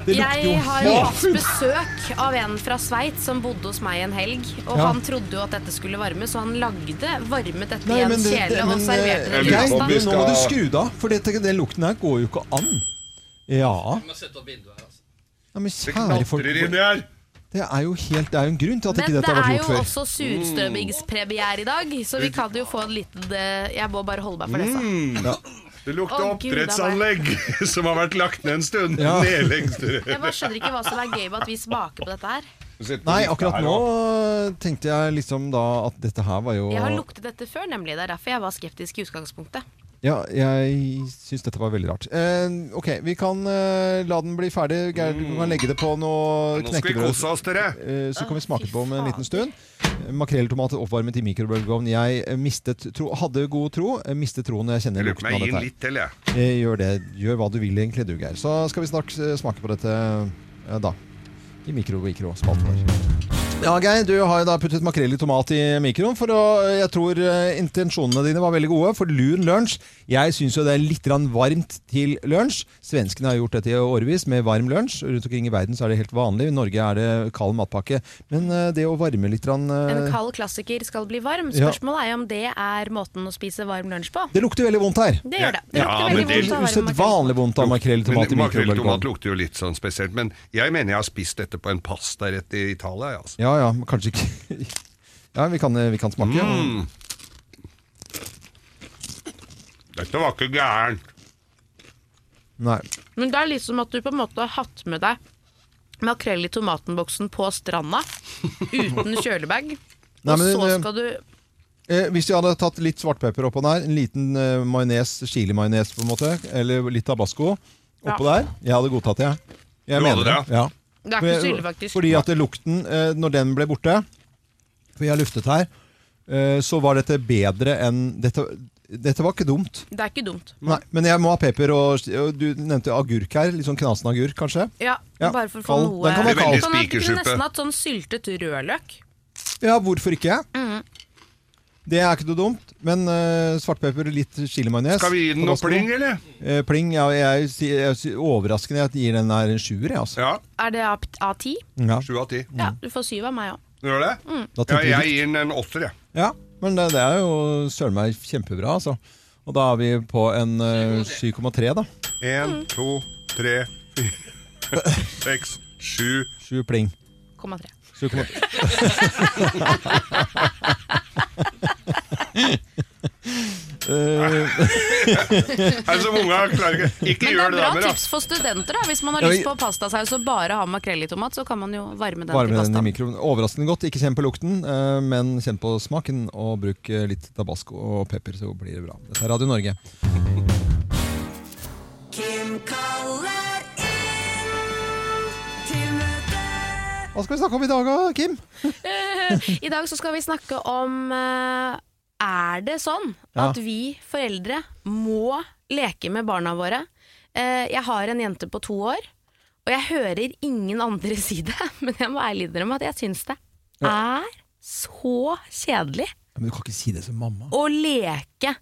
A: Det lukter jo
E: Jeg har jo hatt
A: helt
E: besøk av en fra Sveits som bodde hos meg en helg. Og
A: Ja.
E: han trodde jo at dette skulle varmes, og han lagde, varmet dette
A: Nei,
E: i en
A: men det- det-
E: kjele og
A: men,
E: serverte
A: eh,
E: det til
A: Geir,
B: om vi
E: pasta.
A: Nå må du
B: skal-
A: skru det av, for dette, den lukten her går jo ikke an. Ja. ja men kjære folk,
B: Knatrer inni her.
A: det er jo helt Det er jo en grunn til at
E: Men
A: ikke
E: det
A: dette har
E: er
A: vært
E: jo
A: gjort før.
E: også surstrømmingspremiere i dag, så vi kan jo få en liten eh, Jeg må bare holde meg for dette.
A: Mm.
B: Det lukter
E: Å, Gud,
B: oppdrettsanlegg som har vært lagt ned en stund.
A: Ja.
B: Nedlengstur.
E: Jeg bare skjønner ikke hva som er gøy med at vi smaker på dette her.
A: Nei, akkurat nå tenkte jeg liksom da at dette her var jo
E: Jeg har luktet dette før, nemlig. Det er derfor jeg var skeptisk i utgangspunktet.
A: Ja, jeg syns dette var veldig rart. Eh, ok, vi kan eh, la den bli ferdig. Geir, du kan legge det på noe
B: Nå skal vi
A: knekkebrød.
B: kose oss, dere.
A: Eh, så kan vi smake
E: fy
A: på om en
E: faen.
A: liten stund. Eh, Makrelltomat oppvarmet i mikrobølgeovn. Jeg eh, mistet tro, hadde god tro, eh, mistet troen når jeg
B: Jeg
A: kjenner
B: lurer på
A: lukten
B: om
A: av
B: jeg gir
A: dette.
B: den
A: her.
B: litt til, jeg.
A: Eh, gjør det. Gjør hva du vil egentlig, du, Geir. Så skal vi snart eh, smake på dette eh, da. I mikro-mikro-spalten vår. Ja, Geir, du har jo da puttet makrell i tomat i mikroen, for å, jeg tror eh, intensjonene dine var veldig gode, for lun lunsj. Jeg syns jo det er litt grann varmt til lunsj. Svenskene har gjort dette i årevis med varm lunsj. Rundt omkring i verden så er det helt vanlig. I Norge er det kald matpakke. Men eh, det å varme litt grann, eh,
E: En kald klassiker skal bli varm.
A: Ja.
E: Spørsmålet er jo om det er måten å spise varm lunsj på.
A: Det lukter veldig vondt her.
E: Det gjør det. Det
B: Ja,
E: lukter
B: men
E: veldig
B: det
E: vondt å være makrell.
A: Usedvanlig vondt av makrell i tomat
B: Men
A: i
B: Makrell i tomat
A: mikroen.
B: lukter jo litt sånn spesielt, men jeg mener jeg har spist dette på en pastarett i Italia. jeg, Altså.
A: Ja ja, men kanskje ikke Ja, vi kan, eh, vi kan smake.
B: Mm. Dette var ikke gærent.
A: Nei.
E: Men det er liksom at du på en måte har hatt med deg makrell i tomatenboksen på stranda uten kjølebag,
A: Nei,
E: og
A: men,
E: så
A: eh,
E: skal du
A: Eh, hvis du hadde tatt litt svartpepper oppå der, en liten eh, majones, chili-majones på en måte, eller litt tabasco oppå der, jeg hadde godtatt det. jeg. Jeg
B: Du
A: mener
B: hadde det,
A: Ja.
E: Det er ikke så ille, faktisk.
A: Fordi at det lukten, eh, når den ble borte, for jeg har luftet her, eh, så var dette bedre enn dette, dette var ikke dumt.
E: Det er ikke dumt.
A: Nei, men jeg må ha pepper, og, og du nevnte agurk her. Litt sånn knasen agurk, kanskje.
E: Ja,
A: Ja,
E: bare for å få
A: kald.
E: noe
A: Den kan være
B: Det er veldig
E: Sånn at Du kunne
B: spikersuppe.
E: nesten hatt sånn syltet rødløk.
A: Ja, hvorfor ikke? Det er ikke noe dumt, men eh, svartpepper og litt chili-majones.
B: Skal vi gi den noe
A: tabasco.
B: pling, eller?
A: Eh, Pling, ja, jeg, si- jeg, si- overraskende at jeg gir den der en sjuer, jeg, altså.
B: Ja.
E: Er det A- A10?
A: Ja.
B: Sju av ti.
E: Ja,
A: Mm.
E: du får syv av meg òg.
B: Du gjør det?
E: Mm.
A: Da
B: Ja,
A: tenker vi
B: jeg
A: likt.
B: gir den en åtter, jeg.
A: ja, men det, det er jo søren meg kjempebra, altså. Og da er vi på en eh, 7,3, da.
E: Mm.
B: Én, to, tre, fire, seks, sju.
A: Sju pling.
E: 7,3.
A: 7,3. Eh,
B: Nei, som unge klarer ikke Ikke
E: Men det
B: gjør
E: er
B: det,
E: bra
B: damer. da.
E: tips for studenter. da Hvis man har
A: Ja, vi-
E: lyst på pastasaus og bare har makrell i tomat, så kan man jo varme den
A: varme
E: til
A: den i
E: pastaen.
A: mikroen. Overraskende godt. Ikke kjenn på lukten, eh, men kjenn på smaken. Og bruk eh, litt tabasco og pepper, så blir det bra. Dette er Radio Norge.
G: Kim kaller inn til møte.
A: Hva skal vi snakke om i dag, da, Kim?
E: I dag så skal vi snakke om eh, Er det sånn
A: Ja.
E: at vi foreldre må leke med barna våre? Eh, jeg har en jente på to år, og jeg hører ingen andre si det, men jeg må ærlig innrømme at jeg syns det er så kjedelig
A: Men du kan ikke si det som mamma.
E: å leke.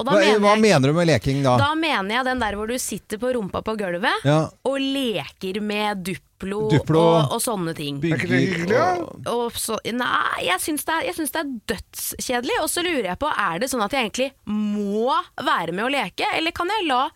E: Og da
A: Hva,
E: mener
A: hva
E: jeg
A: mener du med leking, da?
E: Da mener jeg den der hvor du sitter på rumpa på gulvet
A: Ja.
E: og leker med Duplo,
A: Duplo.
E: Og, og sånne ting.
A: Bygger og
E: Og så, nei, jeg syns det, er- jeg syns det er dødskjedelig. Og så lurer jeg på, er det sånn at jeg egentlig må være med å leke, eller kan jeg la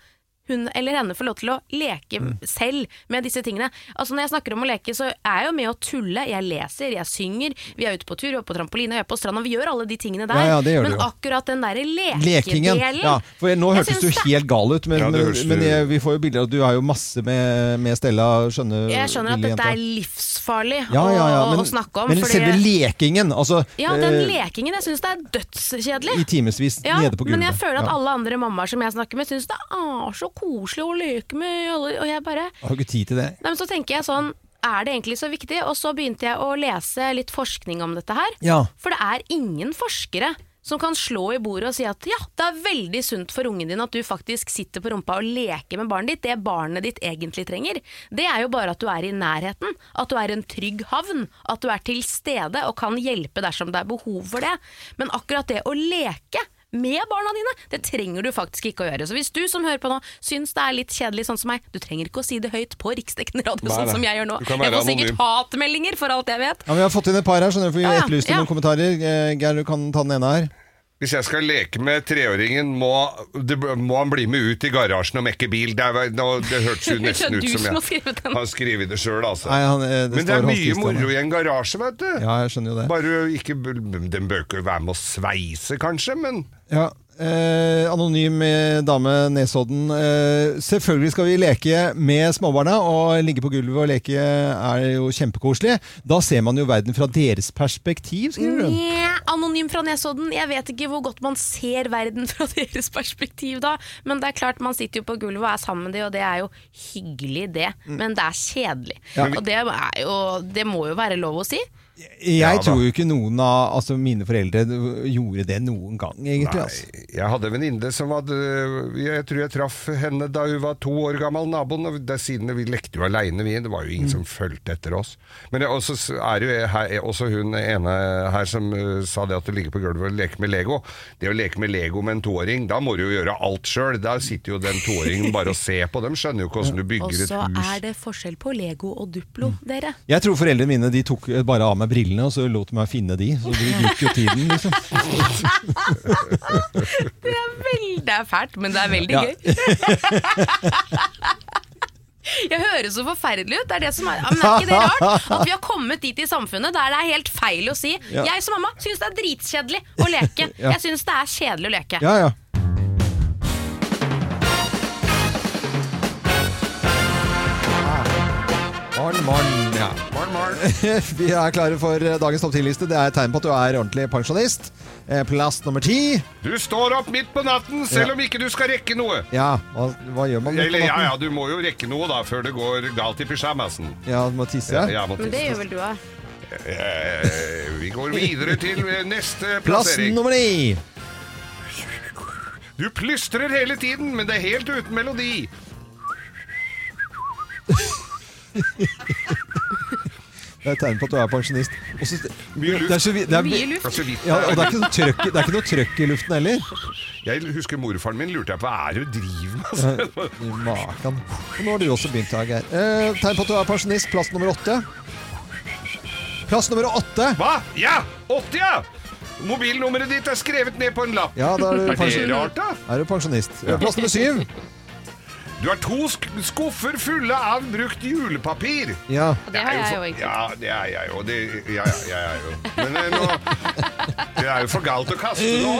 E: hun eller henne få lov til å leke
A: Mm.
E: selv med disse tingene? Altså Når jeg snakker om å leke, så er jeg jo med å tulle. Jeg leser, jeg synger, vi er ute på tur, vi er på trampoline, vi er på stranda. Vi gjør alle de tingene der.
A: Ja, ja, det gjør
E: men
A: du jo.
E: akkurat den derre
A: Lekingen.
E: lekedelen
A: Ja, for nå
E: jeg
A: hørtes
E: syns
A: du
E: det-
A: helt gal ut, men,
B: Ja, det
A: men,
B: hørtes
A: men
B: du-
A: jeg, vi får jo bilder, og du har jo masse med, med Stella. Skjønner,
E: Jeg skjønner at
A: lille
E: dette er
A: jenta.
E: livsfarlig
A: ja, ja, ja,
E: å,
A: men,
E: å snakke om.
A: Men
E: fordi-
A: selve lekingen, altså
E: ja, den
A: eh,
E: lekingen. Jeg syns det er dødskjedelig.
A: i timevis
E: Ja,
A: nede på gulvet.
E: men jeg føler at
A: Ja.
E: alle andre mammaer som jeg snakker med, syns det er så koselig å leke med alle Og jeg bare
A: Jeg Har ikke tid til det.
E: Nei, men så tenker jeg sånn Er det egentlig så viktig? Og så begynte jeg å lese litt forskning om dette her.
A: Ja.
E: For det er ingen forskere som kan slå i bordet og si at ja, det er veldig sunt for ungen din at du faktisk sitter på rumpa og leker med barnet ditt. Det barnet ditt egentlig trenger, det er jo bare at du er i nærheten. At du er en trygg havn. At du er til stede og kan hjelpe dersom det er behov for det. Men akkurat det å leke med barna dine. Det trenger du faktisk ikke å gjøre. Så hvis du som hører på nå syns det er litt kjedelig sånn som meg, du trenger ikke å si det høyt på riksdekkende radio
B: Nei,
E: sånn
B: nei.
E: som jeg gjør nå.
B: Du kan
E: Jeg
B: være
E: får sikkert
B: anonym.
E: hatmeldinger for alt jeg vet.
A: Ja, men Vi har fått inn et par her, skjønner du, for vi
E: Ja, ja,
A: etterlyste
E: ja.
A: noen kommentarer. Eh, Geir, du kan ta den ene her.
B: Hvis jeg skal leke med treåringen, må, det, må han bli med ut i garasjen og mekke bil. Det, er, nå, det hørtes jo
E: Det er
B: nesten ut
E: du
B: som
E: som
B: jeg
E: har skrevet den.
B: har skrevet det sjøl, altså.
A: Nei, han, eh, det
B: Men det
A: står
B: er
A: Hans
B: mye
A: Christian
B: moro
A: her.
B: i en garasje, vet du.
A: Ja, jeg skjønner jo det.
B: Bare ikke Den bør ikke være med å sveise, kanskje, men
A: Ja, eh, Anonym eh, dame Nesodden. Eh, selvfølgelig skal vi leke med småbarna. Og ligge på gulvet og leke er jo kjempekoselig. Da ser man jo verden fra deres perspektiv, skriver hun.
E: Nja, Anonym fra Nesodden. Jeg vet ikke hvor godt man ser verden fra deres perspektiv da. Men det er klart, man sitter jo på gulvet og er sammen med de, og det er jo
B: Mm.
E: hyggelig, det. Men det er kjedelig. Og det, er jo, det må jo være lov å si.
A: Jeg
B: Ja da.
A: tror jo ikke noen av altså mine foreldre gjorde det noen gang, egentlig. Altså.
B: Nei, jeg hadde en venninne som hadde Jeg tror jeg traff henne da hun var to år gammel, naboen. Og det, siden vi lekte jo aleine, vi. Det var jo
A: Mm.
B: ingen som fulgte etter oss. Men det- også s- er jo jeg her, også hun ene her som uh, sa det at du ligger på gulvet og leker med Lego. Det å leke med Lego med en toåring, da må du jo gjøre alt sjøl. Da sitter jo den toåringen bare og ser på. De skjønner jo ikke åssen du
E: Og
B: bygger et
E: så er
B: hus. Mm.
E: det forskjell på Lego og Duplo, dere.
A: Jeg tror foreldrene mine de tok bare av meg brillene, og så lot de meg finne de. Så de brukte jo tiden, liksom.
E: Det er, vel- det er fælt, men det er veldig
A: Ja.
E: gøy. Jeg høres så forferdelig ut. Det er det som er, Ja, men er ikke det rart at vi har kommet dit i samfunnet der det er helt feil å si
A: Ja.
E: Jeg som mamma syns det er dritkjedelig å leke.
A: Ja.
E: Jeg syns det er kjedelig å leke.
A: Ja, ja. Morgen, morgen. Ja.
B: Ah. Barn, barn.
A: Vi er klare for eh, dagens topp 10-liste. Det er et tegn på at du er ordentlig pensjonist. Eh, Plass nummer ti.
B: Du står opp midt på natten selv om ikke du skal rekke noe.
A: Ja, hva, hva gjør man?
B: Eller ja ja, du må jo rekke noe da før det går galt i pysjamasen.
A: Ja, du må tisse.
B: Ja, jeg må
E: Men det
B: tisse.
E: gjør vel du òg.
B: Eh, Vi går videre til eh, neste
A: Plass
B: plassering.
A: nummer ni.
B: Du plystrer hele tiden, men det er helt uten melodi.
A: Det er et tegn på at du er pensjonist. Og så-
B: Mye
A: det er
B: luft.
A: så vi- det er-
E: Mye luft.
B: Det er så vidt.
A: Ja, og det er ikke noe trøkk, det er ikke noe trøkk i luften heller.
B: Jeg husker morfaren min lurte jeg på hva er det du driver med. Altså.
A: I Makan. Og nå har du også begynt, Geir. Eh, tegn på at du er pensjonist. Plass nummer åtte. Plass nummer åtte.
B: Hva? Ja! 80, ja! Mobilnummeret ditt er skrevet ned på en lapp.
A: Ja, da er du
B: Er det
A: pensjonist.
B: rart, da?
A: Er du pensjonist. Eh, Plass nummer syv.
B: Du har to sk skuffer fulle av brukt julepapir.
A: Ja.
E: Det har
B: er
E: jeg
B: for-
E: jo egentlig.
B: Ja, det er jeg jo. Det, ja, ja, jeg er jo. Men eh, nå, det er jo for galt å kaste nå.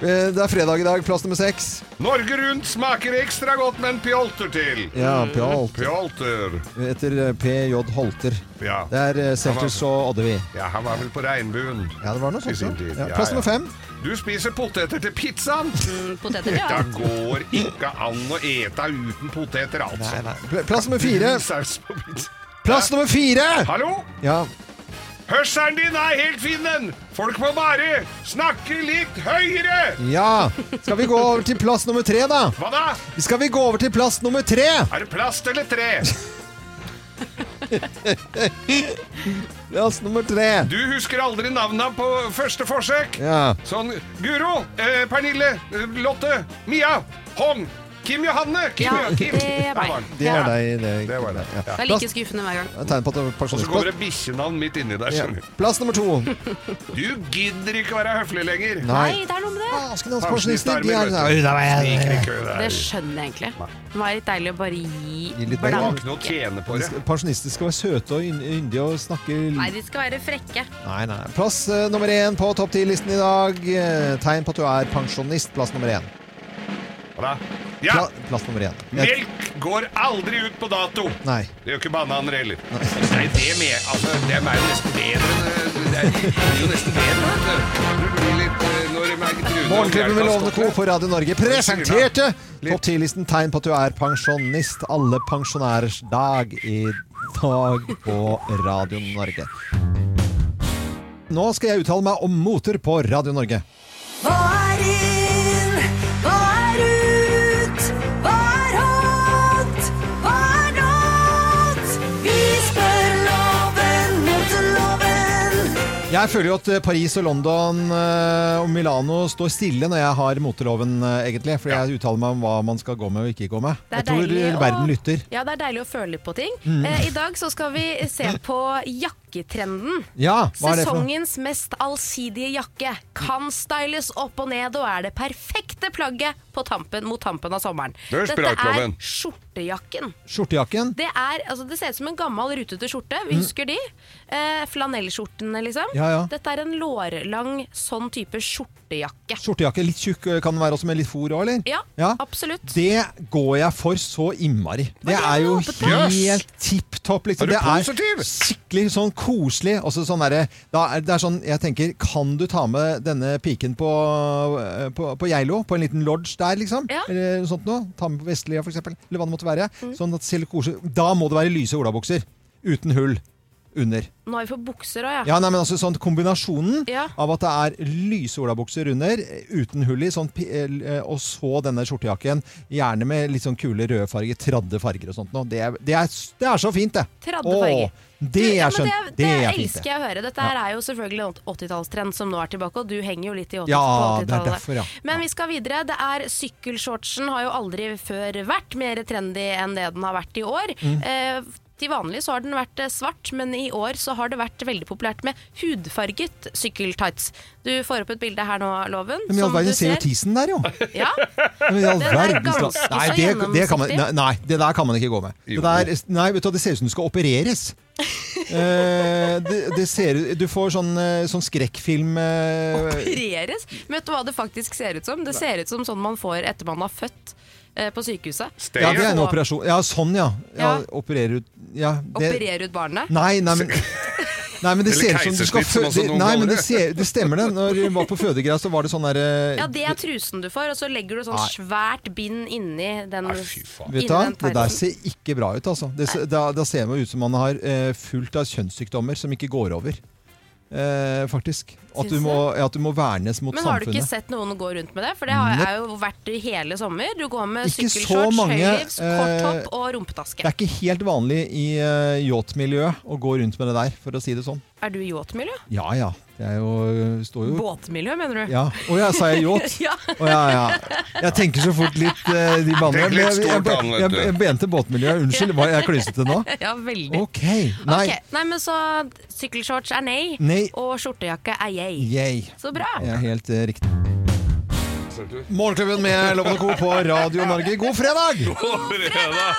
A: Eh, Det er fredag i dag. Plass nummer seks.
B: Norge rundt smaker ekstra godt med en pjolter til.
A: Ja, Pjalt.
B: Pjolter.
A: Etter eh, PJ Holter.
B: Ja.
A: Det er eh, Selters og Oddevi.
B: ja, han var vel på regnbuen.
A: Ja, det var noe
B: I
A: sånt.
B: sin
A: ja.
B: tid.
A: Ja,
B: Ja,
A: plass
B: ja.
A: nummer fem.
B: Du spiser poteter til pizzaen.
E: Mm, Poteter, ja.
B: Da går ikke an å ete uten poteter, altså.
A: Pl- Plass nummer fire.
B: Saus på pizza.
A: Plass nummer fire!
B: Hallo?
A: Ja.
B: Hørselen din er helt fin, den! Folk må bare snakke litt høyere!
A: ja. Skal vi gå over til plass nummer tre, da?
B: Hva da?
A: Skal vi gå over til plass nummer tre?
B: Er det plast eller tre?
A: Plass nummer tre.
B: Du husker aldri navnene på første forsøk.
A: Ja.
B: Sånn Guro, eh, Pernille, eh, Lotte, Mia, Hånd, Kim Johanne Kim,
E: Ja,
B: Kim.
E: det
B: Der
E: er meg.
B: var den.
A: Det er deg. Det,
B: Det var det.
A: Ja.
E: Det er like skuffende hver gang.
A: Det er Tegn på at du er
B: Og så
A: pensjonist.
B: kommer det bikkjenavn midt inni der.
A: Ja.
B: skjønner du.
A: Plass nummer to.
B: Du gidder ikke være høflig lenger.
E: Nei, det er noe med det.
A: Asken hans pensjonister,
B: Pensjonister,
A: de er
B: vet du. Sniker i kø der.
E: Det skjønner jeg egentlig. Det var litt deilig å bare
A: Gi
E: gi
A: litt
B: Det var
E: blank.
B: ikke noe å tjene på det.
A: Pensjonister skal være søte og yndige yndige og snakke
E: Nei,
A: Nei,
E: de skal være frekke.
A: nei. Plass eh, nummer én på topp ti-listen i dag. Eh, tegn på at du er pensjonist. Plass nummer én.
B: Hva da?
A: Pla
B: Ja,
A: plass nummer én. Jeg-
B: melk går aldri ut på dato.
A: Nei.
B: Det gjør ikke bananer heller. Nei, det med, altså, dem er jo nesten bedre enn eh, Det er det er jo nesten bedre, vet du. Du blir litt eh, når de er truende.
A: Morgenklubben med Lovende Co. på Radio Norge presenterte
B: Litt.
A: topp ti-listen tegn på at du er pensjonist. Alle pensjonærers dag i dag på Radio Norge. Nå skal jeg uttale meg om moter på Radio Norge.
G: Hva er inn? Hva er ut? Hva er hot? Hva er not? Vi spør loven mot loven.
A: Jeg føler jo at eh, Paris og London eh, og Milano står stille når jeg har moteloven, eh, egentlig. For jeg uttaler meg om hva man skal gå med og ikke gå med.
E: Det er
A: Jeg tror eh,
E: deilig å-
A: verden lytter. Mm.
E: Ja, det er deilig å føle litt på ting. Eh, I dag så skal vi se på jakketrenden.
A: Ja, hva er det for noe?
E: Sesongens mest allsidige jakke kan styles opp og ned og er det perfekte plagget på tampen mot tampen av sommeren.
B: Det er
E: Dette er
B: spraytloven.
E: skjortejakken.
A: Skjortejakken?
E: Det, er, altså, det ser ut som en gammel rutete skjorte. Vi husker de. Eh, flanellskjortene, liksom.
A: Mm. Ja, ja.
E: Dette er en lårlang sånn type skjortejakke.
A: Skjortejakke litt tjukk eh, kan den være også med litt fôr òg, eller?
E: Ja, absolutt.
A: Det går jeg for så innmari. Det
E: det
A: er
E: jeg
A: jo
E: håpet på.
A: helt tipp topp. Liksom.
B: Er du
A: Det
B: positiv?
A: er skikkelig sånn koselig. Og så sånn derre- da er, det er sånn, jeg tenker, kan du ta med denne piken på, på, på Geilo? På en liten lodge der, liksom?
E: Ja. Mm.
A: Eller noe sånt noe? Ta med på Vestlia, for eksempel. Eller hva det måtte være. Sånn at det ser litt koselig Da må det være lyse olabukser. Uten hull. under.
E: Nå har vi på bukser òg, ja.
A: Ja, nei, men altså sånn Kombinasjonen
E: Ja.
A: av at det er lyse olabukser under, eh, uten hull i, sånn, pi- el- eh, og så denne skjortejakken, gjerne med litt sånn kule røde farger, tradde farger og sånt. nå. Det, er- det, er, det er så fint, det!
E: Tradde
A: Åh,
E: farger. Du,
A: Det
E: ja,
A: er
E: men
A: skjønt.
E: Det, det,
A: fint,
E: elsker
A: det.
E: jeg å høre. Dette her er jo selvfølgelig en 80-tallstrend som nå er tilbake, og du henger jo litt i 80-
A: Ja, det
E: på
A: er
E: 80-tallet.
A: derfor, ja.
E: Men vi skal videre. Det er Sykkelshortsen har jo aldri før vært mer trendy enn det den har vært i år.
A: Mm.
E: Eh, til vanlig så har den vært eh, svart, men i år så har det vært veldig populært med hudfarget sykkeltights. Du får opp et bilde her nå, Loven.
A: Men i all
E: som du
A: verden, ser jo tisen der, jo!
E: Ja,
A: Men i all
E: Den er
A: verdens
E: ganske
A: land.
E: så
A: nei, det, det kan man, nei,
E: gjennomsiktig.
A: nei, det der kan man ikke gå med. Det,
B: Jo.
A: der, nei, vet du, hva, det ser ut som du skal opereres. Eh, det, det ser, ut- du får sånn, eh, sånn skrekkfilm eh,
E: opereres. Men Vet du hva det faktisk ser ut som? Det ser ut som sånn man får etter man har født eh, på sykehuset.
B: Stay.
A: Ja, det er en operasjon. Ja, sånn, ja. ja
E: Ja.
A: opererer ut ja, det,
E: Operere ut barnet.
A: Nei, nei, men Nei, men det ser
B: Eller
A: ut som du skal
B: keisersnitt, som
A: fø-
B: også
A: det-
B: noen
A: Nei, men
B: kaller
A: det,
B: det.
A: ser, det stemmer det. Når hun var på fødegreia, så var det sånn der eh,
E: Ja, det er trusen du får, og så legger du sånn
A: Nei.
E: svært bind inni den,
B: Nei, fy faen.
A: Vet du, hva?
E: inni
A: det der ser ikke bra ut, altså. Det, se- da, da ser man ut som man har eh, fullt av kjønnssykdommer som ikke går over. Eh, faktisk. At
E: Syns
A: du,
E: du?
A: må, ja, at du må vernes mot
E: Men har du ikke
A: samfunnet.
E: sett noen gå rundt med det? For det har er jo vært i hele sommer. Du går med
A: Ikke så
E: sykkelshorts,
A: mange,
E: høylivs, kort
A: eh,
E: topp og
A: Det
E: rumpetaske.
A: er ikke helt vanlig i eh, yachtmiljøet å gå rundt med det der, for å si det sånn.
E: Er du i yachtmiljø?
A: Ja ja. Det er jo, står jo
E: Båtmiljø, mener du?
A: Ja. Å ja, sa jeg yacht?
E: Ja.
A: Å ja, ja. Jeg tenker så fort litt eh, de banene.
B: Tenk litt
A: Jeg, jeg,
B: stort an,
A: jeg,
B: vet du.
A: jeg bente båtmiljøet. Unnskyld, var jeg klysete nå?
E: Ja, veldig.
A: Ok. Nei.
E: Ok, nei, men så sykkelshorts er nei,
A: Nei.
E: og skjortejakke er yay.
A: Yay.
E: Så bra.
A: Jeg er helt eh, riktig. Morgenklubben med Loven og Co. på Radio Norge. God fredag!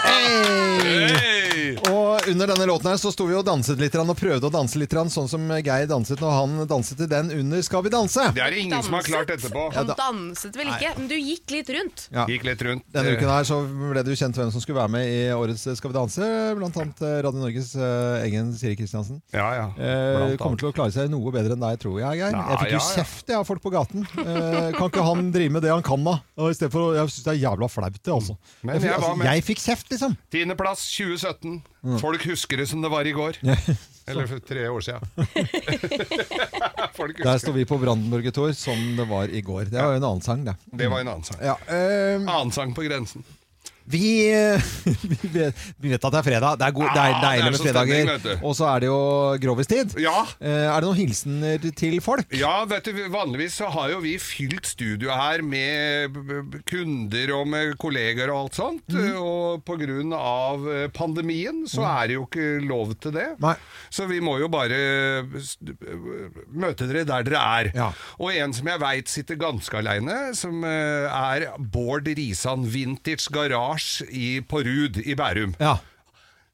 A: Hey!
B: Hey!
A: Og under denne låten her så sto vi og danset litt grann, og prøvde å danse litt, grann, sånn som Geir danset når han danset til den under Skal vi danse?
B: Det er det ingen som har klart etterpå.
E: Han danset vel ikke, men du gikk litt rundt.
A: Ja.
B: Gikk litt rundt.
A: Denne uken her så ble det jo kjent hvem som skulle være med i årets Skal vi danse, blant annet eh, Radio Norges eh, egen Siri Kristiansen.
B: Ja, ja.
A: Eh,
B: Blant
A: kommer
B: annet.
A: til å klare seg noe bedre enn deg, tror jeg, Geir. Jeg fikk jo
B: ja, ja.
A: kjeft jeg, av folk på gaten. Eh, kan ikke han drive med det han kan, da? Og i stedet for, å- jeg syns det er jævla flaut, det, altså.
B: Mm. Men
A: Jeg fikk,
B: jeg var
A: altså,
B: med.
A: jeg fikk kjeft, liksom.
B: Tiendeplass 2017.
A: Mm.
B: Folk husker det som det var i går. Eller for tre år siden. Folk
A: Der
B: husker
A: står vi på Brandenburger Tor som det var i går. Det var jo en annen sang, det.
B: det. Det var en annen sang.
A: Ja, eh,
B: Annen sang på grensen.
A: vi, vi, vet, vi vet at det er fredag. Det er, god, det er
B: Ah, det
A: deilig
B: er
A: med
B: så stemning,
A: fredager.
B: vet du.
A: Og så er det jo grovistid.
B: Ja.
A: Eh, er det noen hilsener til folk?
B: Ja, vet du, vanligvis så har jo vi fylt studioet her med b- b- kunder og med kolleger og alt sånt,
A: Mhm.
B: og på grunn av eh, pandemien så er det jo ikke lov til det.
A: Nei.
B: Så vi må jo bare s- d- møte dere der dere er.
A: Ja.
B: Og en som jeg veit sitter ganske aleine, som eh, er Bård Risan Vintage Garage i, på Rud i Bærum.
A: Ja.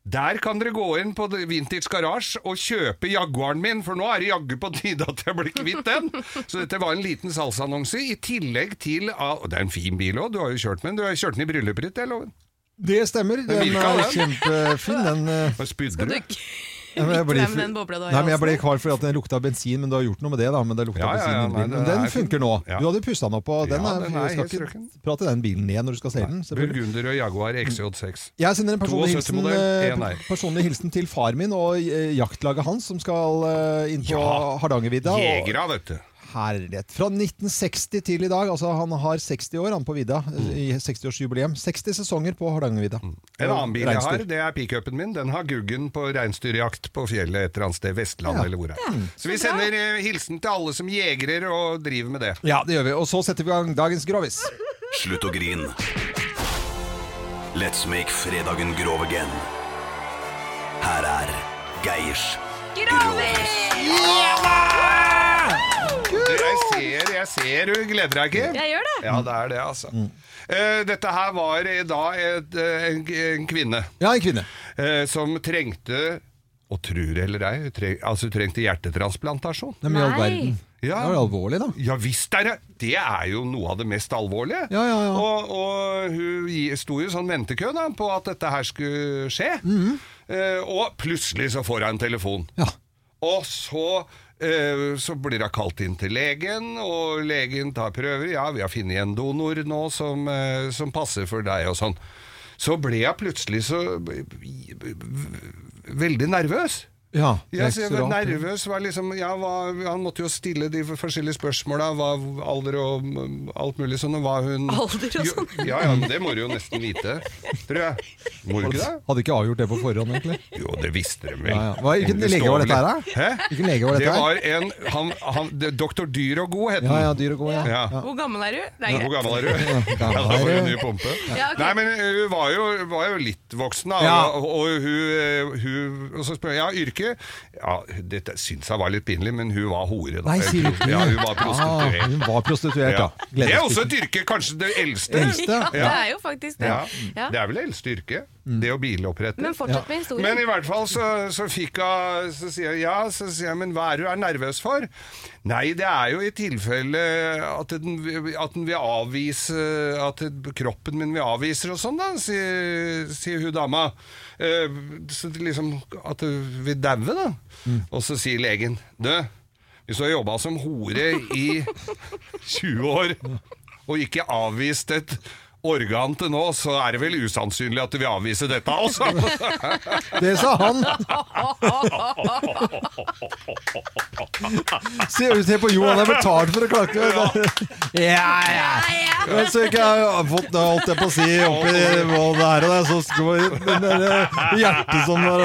B: Der kan dere gå inn på The Vintage Garage og kjøpe Jaguaren min, for nå er det jaggu på tide at jeg blir kvitt den. Så dette var en liten salgsannonse, i tillegg til ah, og Det er en fin bil òg, du har jo kjørt med den. Du har jo kjørt den i bryllupet ditt, det er loven.
A: Det stemmer. Den
B: virka,
A: er
B: den.
A: kjempefin, den. eh.
B: Hva spydde du?
E: Du-
A: Ja, men jeg
E: Vitt
A: ble,
E: deg med den bobla du har i
A: nei, men jeg ble
E: halsen.
A: kvar fordi at den lukta bensin, men du har gjort noe med det. da Men det lukta
B: Ja, ja,
A: bensin
B: ja,
A: i den
B: nei,
A: bilen.
B: det
A: Men den
B: er
A: funker
B: fint.
A: nå.
B: Ja.
A: Du hadde pussa den opp, og den
B: Ja,
A: er,
B: den
A: du
B: er
A: skal
B: helt
A: ikke
B: strøken.
A: prate den bilen ned når du skal selge den. selvfølgelig.
B: Burgunder og Jaguar XJ6.
A: Jeg sender en personlig
B: 72
A: hilsen,
B: modell,
A: eh,
B: 1R.
A: personlig hilsen til far min og eh, jaktlaget hans, som skal eh, inn på
B: Ja.
A: Hardangervidda. og-
B: Jegera, vet du.
A: Herlighet. Fra 1960 til i dag. Altså, han har 60 år han på vidda. eh, I 60-årsjubileum. 60 sesonger på Hardangervidda.
B: Mm. En annen bil jeg har,
A: Reinsdyr.
B: det er pickupen min. Den har Guggen på reinsdyrjakt på fjellet et eller annet sted. Vestland eller hvor det er. Så vi sender eh, hilsen til alle som jegrer og driver med det.
A: Ja, det gjør vi. Og så setter vi i gang dagens Grovis.
D: Slutt å grine. Let's make fredagen grov again. Her er Geirs Grovis.
B: Jeg ser, jeg ser du gleder deg ikke.
E: Jeg gjør det.
B: Ja, det er det, altså.
A: Mm.
B: Eh, dette her var eh, da et, eh, en, en kvinne
A: Ja, en kvinne.
B: eh, som trengte og tror eller ei, hun treng, altså hun trengte hjertetransplantasjon.
A: Nei, men i all
E: Nei.
A: verden.
B: Ja.
A: Det var jo alvorlig, da.
B: Ja visst er det! Det er jo noe av det mest alvorlige.
A: Ja, ja, ja.
B: Og, og hun gi- sto i sånn ventekø da, på at dette her skulle skje.
A: Mm.
B: Eh, og plutselig så får hun en telefon.
A: Ja.
B: Og så, eh, så blir hun kalt inn til legen, og legen tar prøver. Ja, vi har funnet en donor nå som, eh, som passer for deg, og sånn. Så ble jeg plutselig så b- b- b- veldig nervøs.
A: Ja.
B: Ja, så jeg var
J: Restaurant.
B: nervøs. Var liksom, ja, hva, han måtte jo stille de forskjellige spørsmåla. Hva, alder og mm, alt mulig sånn. Og hva hun
E: Alder og
B: Jo,
E: sånn.
B: Ja, ja, men det må du jo nesten vite, tror jeg. Må du ikke det?
A: Hadde ikke avgjort det på forhånd, egentlig.
B: Jo, det visste de vel.
A: Ja, ja. Hva- hvilken
B: Det
A: lege
B: står
A: var dette
B: vel-
A: her, da?
B: Hæ?
A: Hvilken lege var dette
B: det
A: her?
B: var en han, han, det- Doktor Dyr og God, het den.
A: Ja, ja, dyr og god, ja.
B: Ja.
E: Hvor gammel er du? Det er
B: Hvor
E: greit.
B: gammel er du? Ja,
A: gammel
B: da
A: er
B: får du
A: du?
B: ny pumpe.
E: Ja, ok.
B: Nei, men ø, hun var jo, var jo litt voksen, da.
A: Ja.
B: Og, og, hun, ø, hun, og så spør jeg ja, yrke. Ja, dette syns jeg var litt pinlig, men hun var hore. Da.
A: Nei, sier du ikke
B: ja, hun var
A: Ah,
B: prostituert.
A: hun var prostituert,
B: Ja.
A: ja.
B: Det er også et yrke, kanskje det eldste.
A: Eldste,
E: Ja, det
B: Ja.
E: er jo faktisk det.
B: Ja.
E: Ja.
B: Det er vel det eldste yrket. Det å bilopprette.
E: Men fortsett med
B: Men i
E: historien.
B: hvert fall så, så fikk hun Så sier jeg ja, så sier jeg men hva er du er nervøs for? Nei, det er jo i tilfelle at den, at den vil avvise At kroppen min vil avvise og sånn, da, sier, sier hun dama. Eh, så det liksom At du vil daue, da. Og så sier legen Du, hvis du har jobba som hore i 20 år og ikke avvist et organ til nå, så er det vel usannsynlig at du vil avvise dette også.
A: Det sa han! Se, se på Jo, han er betalt for å klage. Ja, ja. Men så ikke jeg har fått det, holdt jeg på å si, oppi både her og der, så skal vi- men det er eh, hjertet som var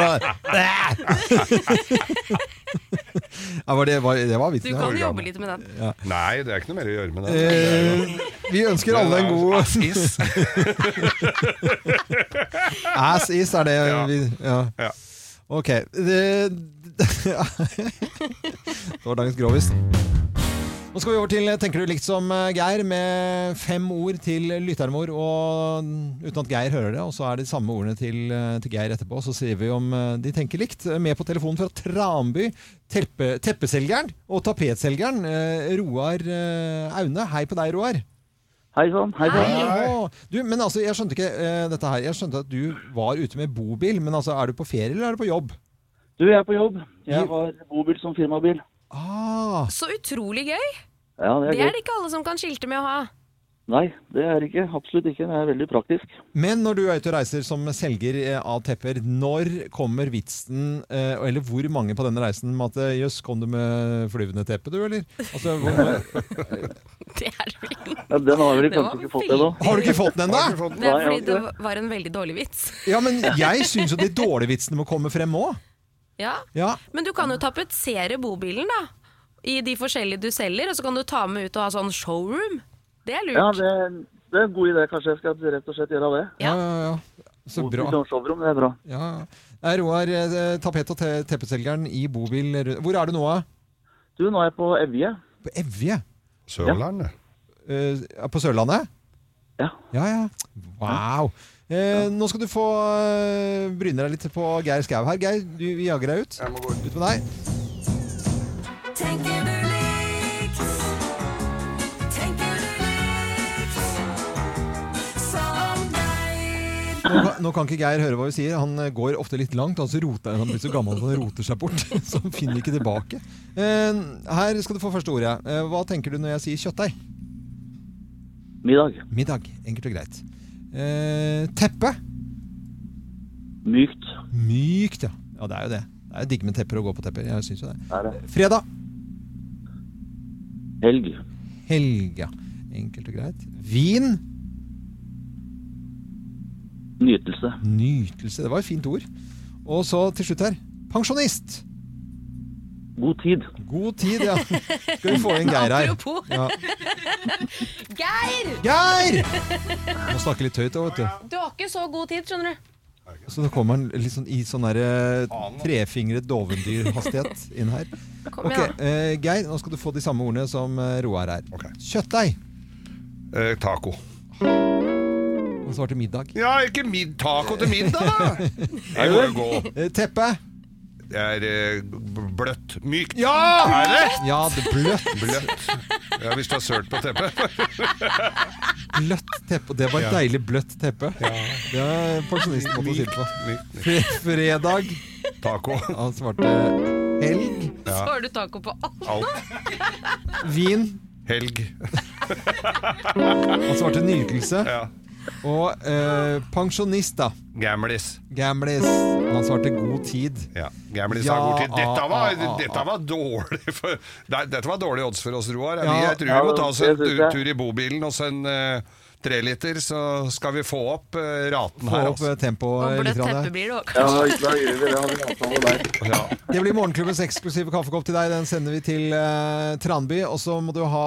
A: ja, var det, var, det var
E: Du
A: vitsen. ja.
E: kan jobbe litt med den.
B: Nei, det er ikke noe mer å gjøre med det.
A: Eh, vi ønsker alle en god
B: Ass is.
A: Ass is, er det
B: Ja.
A: vi ja.
B: Ja.
A: Ok. Det, det var dagens grovis. Nå skal vi over til Tenker du likt som eh, Geir, med fem ord til lytteren vår, og uten at Geir hører det. Og så er det de samme ordene til, eh, til Geir etterpå. Så sier vi om eh, de tenker likt. Med på telefonen fra Tranby, teppe, teppeselgeren og tapetselgeren, eh, Roar eh, Aune. Hei på deg, Roar.
F: Hei sann. Hei sann.
A: Åh, Du, men altså, jeg skjønte ikke eh, dette her. Jeg skjønte at du var ute med bobil, men altså, er du på ferie eller er du på jobb?
F: Du, jeg er på jobb. Jeg har bobil som firmabil.
A: Ah,
E: Så utrolig gøy!
F: Ja,
E: Det
F: det er
E: er
F: gøy.
E: det ikke alle som kan skilte med å ha.
F: Nei, det er ikke. Absolutt ikke. Det er veldig praktisk.
A: men når du er ute og reiser som selger eh, av tepper, når kommer vitsen, eh, eller hvor mange på denne reisen, med at eh, jøss, kom du med flyvende teppe, du, eller? Altså, hvor,
E: Det er det vel ikke.
F: Ja, den har vel
E: Det var
F: kanskje ikke fått ennå.
A: har du ikke fått den
B: Har du
A: ennå?
B: fått den?
E: Det er
F: Nei,
E: fordi
F: jeg
E: det
F: har ikke
E: var en veldig dårlig vits.
A: Ja, men jeg syns jo de dårlige vitsene må komme frem òg.
E: Ja.
A: Ja.
E: Men du kan jo tapetsere bobilen, da. I de forskjellige du selger, og så kan du ta med ut og ha sånn showroom. Det er
F: Ja,
E: lurt.
F: det, det er en god idé. Kanskje jeg skal rett og slett gjøre det.
A: Ja, ja, ja. Så
F: Bobil
A: bra.
F: som showroom, det er bra.
A: Ja. Nei, Roar, eh, tapet- og te- teppeselgeren i bobil rundt- Hvor er du nå, da?
F: Du, nå er jeg på Evje.
A: På Evje?
B: Sørlandet.
A: Eh, på Sørlandet?
F: Ja.
A: Ja, ja. Wow. Eh, nå skal du få eh, bryne deg litt på Geir Skau her. Geir, du, vi jager deg ut.
B: Jeg må gå ut.
A: Ut med deg.
G: Tenker du likt? Tenker du likt som deg?
A: Nå kan, nå kan ikke Geir høre hva vi sier. Han eh, går ofte litt langt. Altså roter, han blir så gammel at han roter seg bort. Så han finner ikke tilbake. Eh, her skal du få første ordet. Eh, hva tenker du når jeg sier kjøttdeig?
F: Middag.
A: Middag. Enkelt og greit. Eh, teppe.
F: Mykt.
A: Mykt, ja. Ja, det er jo det. Det er jo digg med tepper å gå på tepper. Jeg syns jo det.
F: Er det.
A: Fredag.
F: Helg.
A: Helg, ja. Enkelt og greit. Vin.
F: Nytelse.
A: Nytelse. Det var et fint ord. Og så til slutt her. Pensjonist.
F: God tid.
A: God tid, ja. Skal vi få inn Geir her.
E: Apropos.
A: Ja.
E: Geir!
A: Geir! Må snakke litt høyt da, vet du.
E: Du har ikke så god tid, skjønner du.
A: Så nå kommer han litt sånn i sånn derre trefingret dovendyrhastighet inn her.
E: Kom
A: Ok,
E: igjen. da.
A: eh, Geir, nå skal du få de samme ordene som eh, Roar her.
B: Ok.
A: Kjøttdeig.
B: Eh, taco.
A: Og så var det middag.
B: Ja, ikke mid taco til middag, da! Jeg må jo gå.
A: Eh, teppe.
B: Det er eh, b- bløtt. Mykt.
A: Ja!
B: Er det?
A: Ja, det bløtt,
B: Bløtt. Ja, hvis du har sølt på teppet.
A: bløtt teppe. Det var et
B: Ja.
A: deilig bløtt teppe. Det er pensjonisten måtte si det på.
B: Mykt, mykt.
A: Fre- Fredag.
B: Taco.
A: Han svarte helg.
E: Så har du taco på alt.
B: Alt.
A: Vin.
B: Helg.
A: Han svarte nytelse.
B: Ja.
A: Og eh, pensjonist, da.
B: Gamlis.
A: Gamlis. Han svarte god tid.
B: Ja, Gamlis
A: Ja,
B: har god tid. Dette
A: ah, ah,
B: var,
A: ah,
B: dette var dårlig for, Nei, Dette var dårlige odds for oss, Roar.
A: Ja.
B: Vi- Jeg tror vi må ta oss en
F: Ja, det synes jeg.
B: tur i bobilen og så en eh, treliter, så skal vi få opp eh, raten
A: Få
B: her.
A: opp
B: altså.
A: eh, tempoet
E: Og
A: litt.
E: bløtt
A: grann eh.
E: teppe
A: der.
E: blir det òg,
F: Ja,
E: kanskje.
F: da gjør vi det. Har vi en avtale der?
B: Ja.
A: Det blir Morgenklubbens eksklusive kaffekopp til deg. Den sender vi til eh, Tranby. Og så må du ha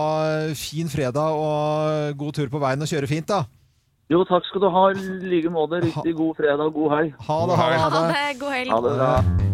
A: fin fredag og god tur på veien og kjøre fint, da.
F: Jo, takk skal du ha. I like måte. Riktig god fredag og god helg.
A: Ha det, ha det. Ha
E: Ha
A: det.
E: det, god helg.
F: Ha det bra.